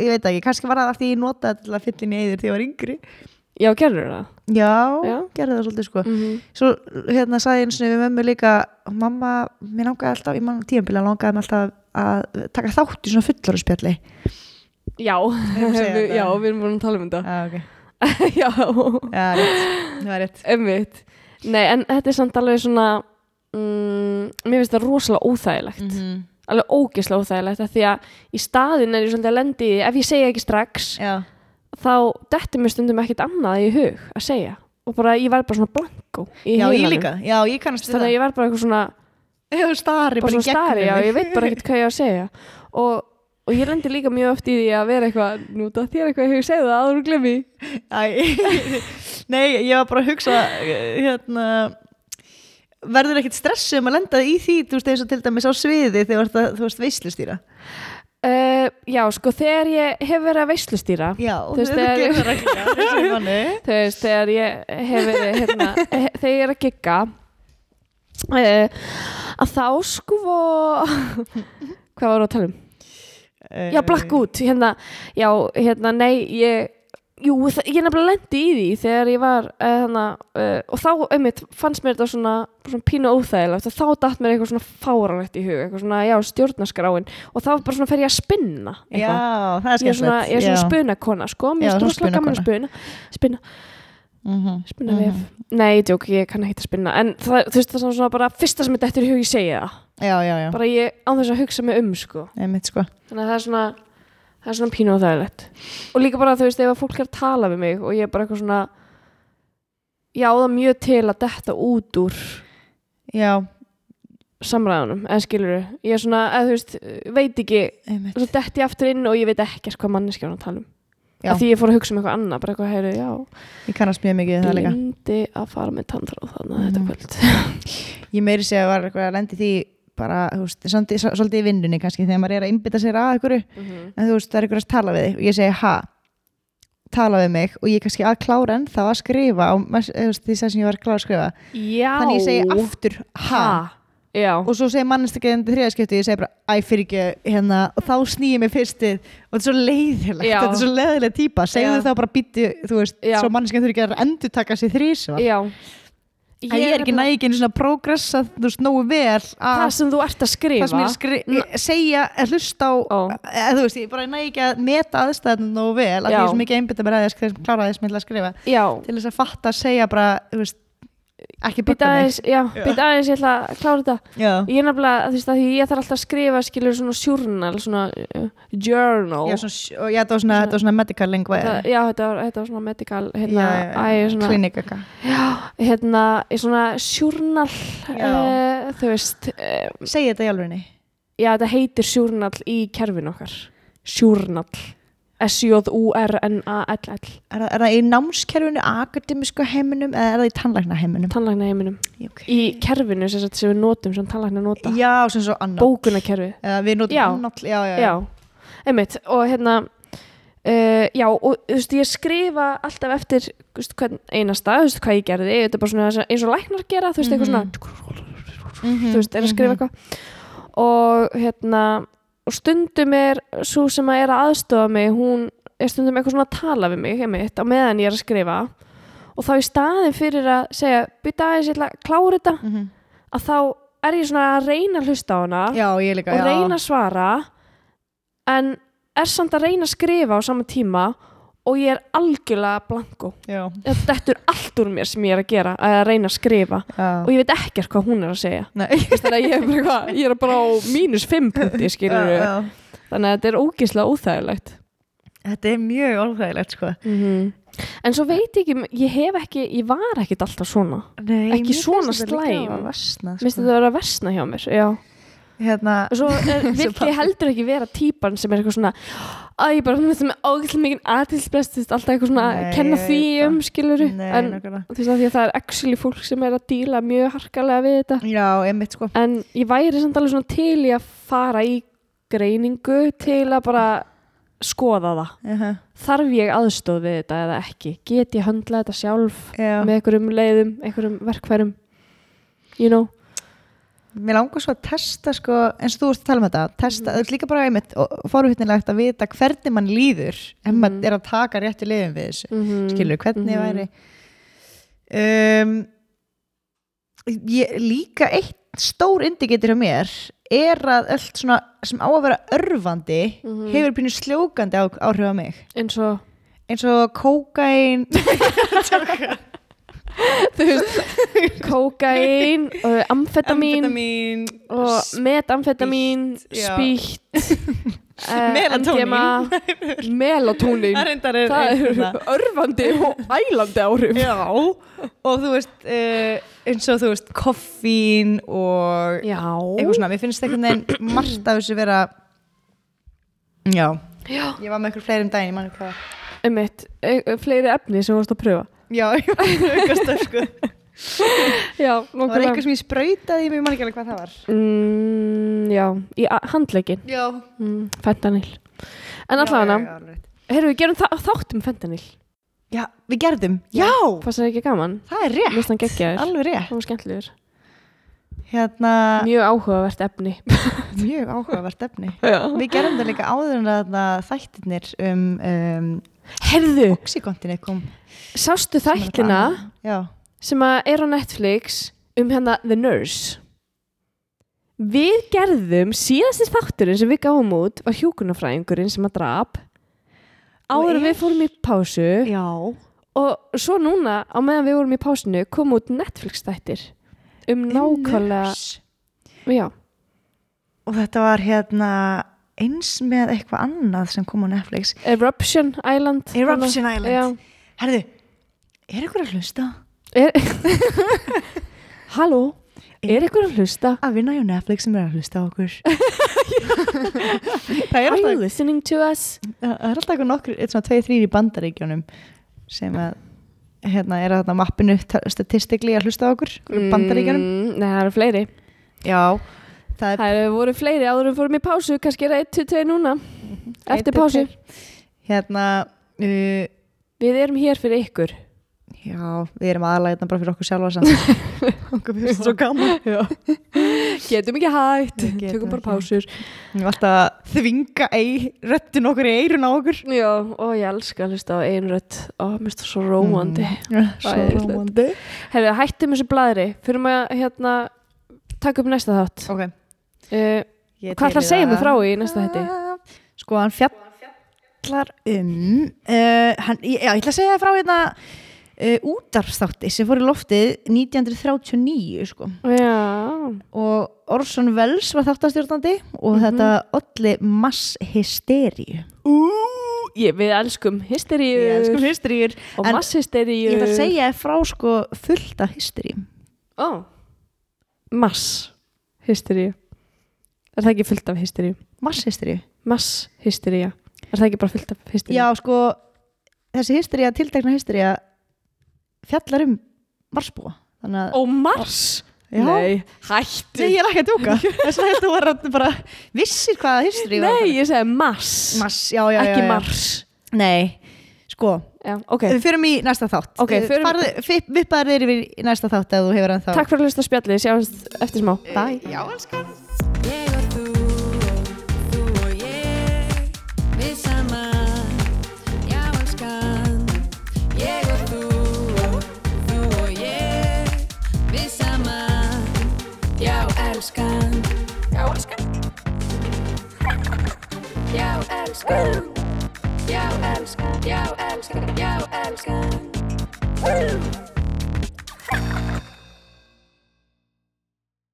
Speaker 3: ég veit ekki, kannski var það af því ég notaði til að fylla inn í eyður þegar ég var yngri
Speaker 4: já, gerður það
Speaker 3: já,
Speaker 4: Já.
Speaker 3: gerði það svolítið sko
Speaker 4: mm
Speaker 3: svo hérna sagði ég eins og við mömmu líka mamma, mér langaði alltaf, ég mann tíðanbíla langaði mér alltaf að taka þátt í svona fullorðspjalli
Speaker 4: já,
Speaker 3: erum að segja
Speaker 4: við,
Speaker 3: þetta.
Speaker 4: já, við erum búin að tala um þetta
Speaker 3: ah, okay.
Speaker 4: já,
Speaker 3: já, rétt, það var rétt
Speaker 4: einmitt nei, en þetta er samt alveg svona mm, mér finnst það rosalega óþægilegt
Speaker 3: Mhm.
Speaker 4: alveg ógislega óþægilegt af því að í staðin er ég svolítið að lendi í því, ef ég segja ekki strax
Speaker 3: já,
Speaker 4: þá dettur mér stundum ekkit annað í hug að segja og bara ég verð bara svona blanko í
Speaker 3: já, ég
Speaker 4: heilanum.
Speaker 3: líka, já, ég kannast við
Speaker 4: þannig að ég verð bara eitthvað svona
Speaker 3: það ég stari
Speaker 4: bara
Speaker 3: bara í
Speaker 4: svona stari, já,
Speaker 3: gegnum mig.
Speaker 4: ég veit bara ekkert hvað ég á að segja og, og ég lendir líka mjög oft í því að vera eitthvað, nú það þér eitthvað ég hefur segið það áður og glemmi
Speaker 3: Æ, nei, ég var bara að hugsa eh, hérna verður ekkert stressum að lenda í því þú veist eins og til dæmis á sviði þegar þú ert að- þú veist veislustýra
Speaker 4: uh, Já, sko, þegar ég hef verið að veislustýra
Speaker 3: já,
Speaker 4: Þú veist, þegar-
Speaker 3: það reglulega þessum manni.
Speaker 4: þú veist, þegar ég hef verið hérna, he- þegar ég er að gigga uh, að þá sko hvað var að tala um? Já,
Speaker 3: Eh.
Speaker 4: blakk út, hérna, já, hérna, nei, ég, jú, þa- ég nefnilega lendi í því þegar ég var, eh, hérna, uh, og þá, einmitt, fannst mér þetta svona, svona pínu óþægilegt og þá datt mér eitthvað svona fáranlegt í hug, eitthvað svona, já, stjórnaskráin og þá bara svona fer ég að spinna,
Speaker 3: já, það er
Speaker 4: eitthvað. Ég er svona,
Speaker 3: skemmtilegt
Speaker 4: ég er svona
Speaker 3: já.
Speaker 4: spunakona, sko,
Speaker 3: Já,
Speaker 4: mér er
Speaker 3: svona
Speaker 4: stróðslega gaman að spuna, spinna,
Speaker 3: Mhm.
Speaker 4: spinna um vef. Nei, ég djók, ég kann ekki að spinna, en það, þú veist, það er svona bara fyrsta sem þetta eftir í hug ég segja það,
Speaker 3: já, já, já,
Speaker 4: bara ég án þess að hugsa mig um, sko
Speaker 3: einmitt sko
Speaker 4: þannig að það er svona það er svona pínu og þægilegt og líka bara þú veist ef að fólk er að tala við mig og ég er bara eitthvað svona ég á það mjög til að detta út úr
Speaker 3: já,
Speaker 4: samræðunum eða skilur ég er svona eða þú veist veit ekki
Speaker 3: einmitt
Speaker 4: og svo detti ég aftur inn og ég veit ekkert hvað manneskja var að tala um
Speaker 3: Já.
Speaker 4: að því ég fór að hugsa um eitthvað annað bara eitthvað heyru já
Speaker 3: ég kannast mjög mikið við það líka
Speaker 4: lindi að fara með tantráð þannig að þetta
Speaker 3: Mhm.
Speaker 4: kvöld
Speaker 3: ég meiri segja að var eitthvað að lendi því bara, þú veist, svolítið svolítið í vinnunni kannski þegar maður er að innbytta sér að einhverju en þú veist, það er einhverjast að tala við þig og ég segi ha, tala við mig og ég er kannski að klára en þá að skrifa á, mess- eða, þú veist, því sem ég var að klára að skrifa
Speaker 4: já
Speaker 3: þannig ég segi aftur ha,
Speaker 4: ha já,
Speaker 3: og svo segir mannstækjaðin þriðaskipti og ég segi bara, æ, fyrir ekki hérna, og þá snýi ég mig fyrstið og þetta er svo leiðilegt,
Speaker 4: Já.
Speaker 3: þetta er svo leiðileg típa segðu
Speaker 4: Já.
Speaker 3: þá bara býtti, þú veist,
Speaker 4: Já.
Speaker 3: svo mannskjaðin þurfi ekki að endur taka sér þrísvar
Speaker 4: já
Speaker 3: ég, ég er ekki
Speaker 4: nefnilega-
Speaker 3: nægin svona progressa, þú veist, nógu vel að
Speaker 4: það sem þú ert að skrifa
Speaker 3: það sem ég skri, ég, segja, er hlusta á
Speaker 4: Ó.
Speaker 3: eða, þú veist, ég bara næg ekki að meta aðstæðan nógu vel, af því
Speaker 4: Já.
Speaker 3: ég er svo mikið einbytta mér að ég skri- klára því sem ég ætla að skrifa
Speaker 4: já,
Speaker 3: til þess að fatta að segja bara, þú veist ekki
Speaker 4: býta
Speaker 3: bugga mig
Speaker 4: aðeins já, býta aðeins, ég ætla að klára þetta
Speaker 3: já,
Speaker 4: ég er nefnilega, þú veist að því ég þarf alltaf að skrifa skilur svona journal svona uh, journal
Speaker 3: já, svona, og já, þetta var svona,
Speaker 4: Svona-
Speaker 3: þetta var svona medical lingua
Speaker 4: það, já, þetta var, þetta var svona medical hérna,
Speaker 3: Já, já,
Speaker 4: æ, svona,
Speaker 3: klinik eitthvað
Speaker 4: hérna, í svona journal
Speaker 3: Já.
Speaker 4: uh, þú veist uh,
Speaker 3: segi þetta í alvegni
Speaker 4: já, þetta heitir journal í kerfin okkar journal S-J-U-R-N-A-L-L
Speaker 3: er, það- er það í námskerfinu, akademisku heiminum eða er það í tannlækna heiminum
Speaker 4: tannlækna heiminum
Speaker 3: okay.
Speaker 4: í kerfinu sem, sagt, sem við notum sem tannlækna nota
Speaker 3: já, sem svo annar
Speaker 4: bókunakerfið
Speaker 3: við notum
Speaker 4: Já.
Speaker 3: náll já, já, já.
Speaker 4: já, einmitt og hérna uh, já og þú veist ég skrifa alltaf eftir þú veist, hvern einasta, þú veist hvað ég gerði þetta er bara svona þessa- eins og læknar gera þú veist eitthvað svona
Speaker 3: Mhm,
Speaker 4: þú veist er að skrifa eitthvað og hérna og stundum er svo sem að er að aðstofa mig hún er stundum eitthvað svona að tala við mig einmitt á meðan ég er að skrifa og þá í staðin fyrir að segja byrja aðeins ég ætla að klára þetta
Speaker 3: Mhm.
Speaker 4: að þá er ég svona að reyna að hlusta á hana
Speaker 3: já, ég líka
Speaker 4: og
Speaker 3: já.
Speaker 4: reyna að svara en er samt að reyna að skrifa á sama tíma og ég er algjörlega blanko
Speaker 3: já,
Speaker 4: þetta er allt úr mér sem ég er að gera að reyna að skrifa
Speaker 3: já.
Speaker 4: og ég veit ekkert hvað hún er að segja
Speaker 3: Nei.
Speaker 4: þannig að ég er bara, hvað, ég er bara á mínus 5 punkti skilur
Speaker 3: Já, já.
Speaker 4: þannig að þetta er ógislega óþægilegt
Speaker 3: þetta er mjög orðhægilegt sko.
Speaker 4: en svo veit ég ekki, ég hef ekki ég var ekkert alltaf svona
Speaker 3: Nei,
Speaker 4: Ekki
Speaker 3: mér finnst
Speaker 4: svona
Speaker 3: þetta líka
Speaker 4: slæm.
Speaker 3: að versna,
Speaker 4: Mér finnst
Speaker 3: sko.
Speaker 4: þetta að vera að versna hjá mér, já.
Speaker 3: hérna,
Speaker 4: Og svo eh, vill
Speaker 3: pabbi.
Speaker 4: ég heldur ekki vera típan sem er eitthvað svona að ég bara finnst það með ógæslega mikið aðtilsbrest alltaf eitthvað svona að
Speaker 3: Nei,
Speaker 4: kenna
Speaker 3: ég
Speaker 4: því
Speaker 3: veit
Speaker 4: um skiluru
Speaker 3: nei,
Speaker 4: en
Speaker 3: nákvæmlega.
Speaker 4: þú veist að því að það er actually fólk sem er að díla mjög harkalega við þetta
Speaker 3: já, einmitt sko
Speaker 4: en ég væri samt alveg svona til í að fara í greiningu til að bara skoða það
Speaker 3: uh -huh.
Speaker 4: þarf ég aðstóð við þetta eða ekki get ég höndla þetta sjálf
Speaker 3: já.
Speaker 4: með einhverjum leiðum, einhverjum verkfærum you know
Speaker 3: Mér langar svo að testa sko, eins og þú ert að tala um þetta
Speaker 4: Mhm.
Speaker 3: testa, mm. líka bara einmitt fórhutnilegt að vita hvernig mann líður ef
Speaker 4: Mhm.
Speaker 3: maður er að taka réttu liðum við þessu
Speaker 4: mm -hmm.
Speaker 3: skilur, Mhm. hvernig væri um, ég, Líka eitt stór indikator hjá mér er að allt svona sem á að vera örfandi
Speaker 4: Mhm.
Speaker 3: hefur pínu sljókandi á, áhrif á mig
Speaker 4: eins og
Speaker 3: eins og kókain
Speaker 4: þú veist kókain, uh, amfetamin,
Speaker 3: amfetamin
Speaker 4: og metamfetamin
Speaker 3: já.
Speaker 4: spýtt uh,
Speaker 3: Melatonín.
Speaker 4: melatonin
Speaker 3: Það reyndar er
Speaker 4: það
Speaker 3: er-
Speaker 4: eru örfandi og ælandi áhrif
Speaker 3: Já, og þú veist uh, eins og þú veist koffín og
Speaker 4: já,
Speaker 3: eitthvað svona, mér finnst einhvern veginn margt af þessu vera Já,
Speaker 4: já.
Speaker 3: ég var með ykkur fleiri um daginn, ég manni hvað
Speaker 4: Einmitt, e- e- fleiri efni sem vorst að pröfa
Speaker 3: Já, ég var með eitthvað stöð sko Það
Speaker 4: já,
Speaker 3: var
Speaker 4: nokkulega
Speaker 3: eitthvað sem ég sprautaði í mig, ég manni ekki alveg hvað það var
Speaker 4: mm, já, í a- handlegin
Speaker 3: Já
Speaker 4: mm, fentanil en allavega,
Speaker 3: já, alveg rétt.
Speaker 4: heyrðu, við gerum þa þátt um fentanil
Speaker 3: já, við gerðum, já,
Speaker 4: fannst það ekki gaman,
Speaker 3: það er rétt
Speaker 4: listan geggjaður
Speaker 3: Alveg rétt,
Speaker 4: það var skemmtilegur,
Speaker 3: hérna,
Speaker 4: mjög áhugavert efni
Speaker 3: mjög áhugavert efni
Speaker 4: já
Speaker 3: Við gerðum það líka áður en að þarna þættirnir um, um
Speaker 4: Herðu,
Speaker 3: Oxycontin kom hérna.
Speaker 4: sástu þættina
Speaker 3: Já,
Speaker 4: sem að er á Netflix um hérna The Nurse Við gerðum síðasti þátturinn sem við gáum út var hjúkunarfræðingurinn sem að drap áður en
Speaker 3: er-
Speaker 4: við fórum í pásu
Speaker 3: já.
Speaker 4: og svo núna á meðan við vorum í pásinu kom út Netflix þættir um nákvæmlega
Speaker 3: Nurse.
Speaker 4: já,
Speaker 3: og þetta var hérna eins með eitthvað annað sem kom á Netflix
Speaker 4: Eruption Island
Speaker 3: Eruption
Speaker 4: Hana-
Speaker 3: Island. herðu, er ykkur að hlusta
Speaker 4: Já, er, Halló, er ykkur að hlusta?
Speaker 3: að vinna hjá Netflix sem er að hlusta á okkur það er
Speaker 4: Are you
Speaker 3: alltaf
Speaker 4: listening to us?
Speaker 3: það er alltaf eitthvað nokkur, eitthvað svona tveið þrýr í bandaríkjónum sem að hérna er að þetta mappinu ta- statistically að hlusta á okkur mm. bandaríkjónum
Speaker 4: Mm, Nei, það eru fleiri
Speaker 3: já, það er
Speaker 4: Það eru voru fleiri áður en við fórum í pásu kannski er það 1 til 2 núna eftir
Speaker 3: Eitt,
Speaker 4: pásu
Speaker 3: tveir. hérna uh,
Speaker 4: Við erum hér fyrir ykkur
Speaker 3: Já, við erum aðalæðna bara fyrir okkur sjálfa samt. Okkur finnst svo gaman.
Speaker 4: Já. getum ekki hægt,
Speaker 3: Við getum
Speaker 4: tökum bara
Speaker 3: ekki
Speaker 4: pásur
Speaker 3: Við erum alltaf að þvinga ei, röttin okkur í eirun á okkur.
Speaker 4: já, og ég elska að hlusta á einrödd og mér finnst það svo róandi mm.
Speaker 3: Svo
Speaker 4: Æðislegt.
Speaker 3: rómandi.
Speaker 4: hefur það hættum þessu blæðri fyrir maður hérna taka upp næsta þátt
Speaker 3: Ok.
Speaker 4: uh, hvað ætlar að segja mig frá í næsta þætti?
Speaker 3: Sko, hann fjallar um, uh, hann, ég, já, ég ætla að segja þér frá hérna uh, útarfstátti sem fór í loftið 1939, sko.
Speaker 4: já,
Speaker 3: Og Orson Welles var þáttastjórnandi og
Speaker 4: Mhm.
Speaker 3: þetta olli masshysteríu.
Speaker 4: Ú, ég, við elskum hysteríu
Speaker 3: Ég elskum hysteríur.
Speaker 4: og
Speaker 3: en-
Speaker 4: masshysteríu
Speaker 3: Ég ætla að segja þér frá sko fullt af hysteríum.
Speaker 4: Ó. mass hysteríu er það ekki fullt af hysteríu?
Speaker 3: Masshysteríu.
Speaker 4: mass hysteríu er það ekki bara fullt af hysteríu?
Speaker 3: Já, sko, þessi hystería, tiltekna hystería fjallar um marsbúa. Þannig að,
Speaker 4: og mars?
Speaker 3: Já.
Speaker 4: nei, hættu
Speaker 3: Nei, ég er ekki að djóka. Þess að ég held að vera bara vissir hvaða hystería
Speaker 4: nei, ég segi mass,
Speaker 3: Mars, já, já, já.
Speaker 4: ekki
Speaker 3: já.
Speaker 4: mars
Speaker 3: Nei, sko,
Speaker 4: já, ok,
Speaker 3: við förum í næsta þátt.
Speaker 4: Ok,
Speaker 3: Eh,
Speaker 4: förum-
Speaker 3: farðu- fipp- Vippaðu þér yfir í næsta þátt ef þú hefur ennþá.
Speaker 4: takk fyrir að hlusta á spjallið sjáumst eftir smá
Speaker 3: Bye.
Speaker 2: Já, elskan Ég og þú, þú og ég Við saman Já, elskan Ég og þú, þú og ég Við saman Já, elskan Já, elskan Já, elskan Já, elskan Já, elskan Já, elskan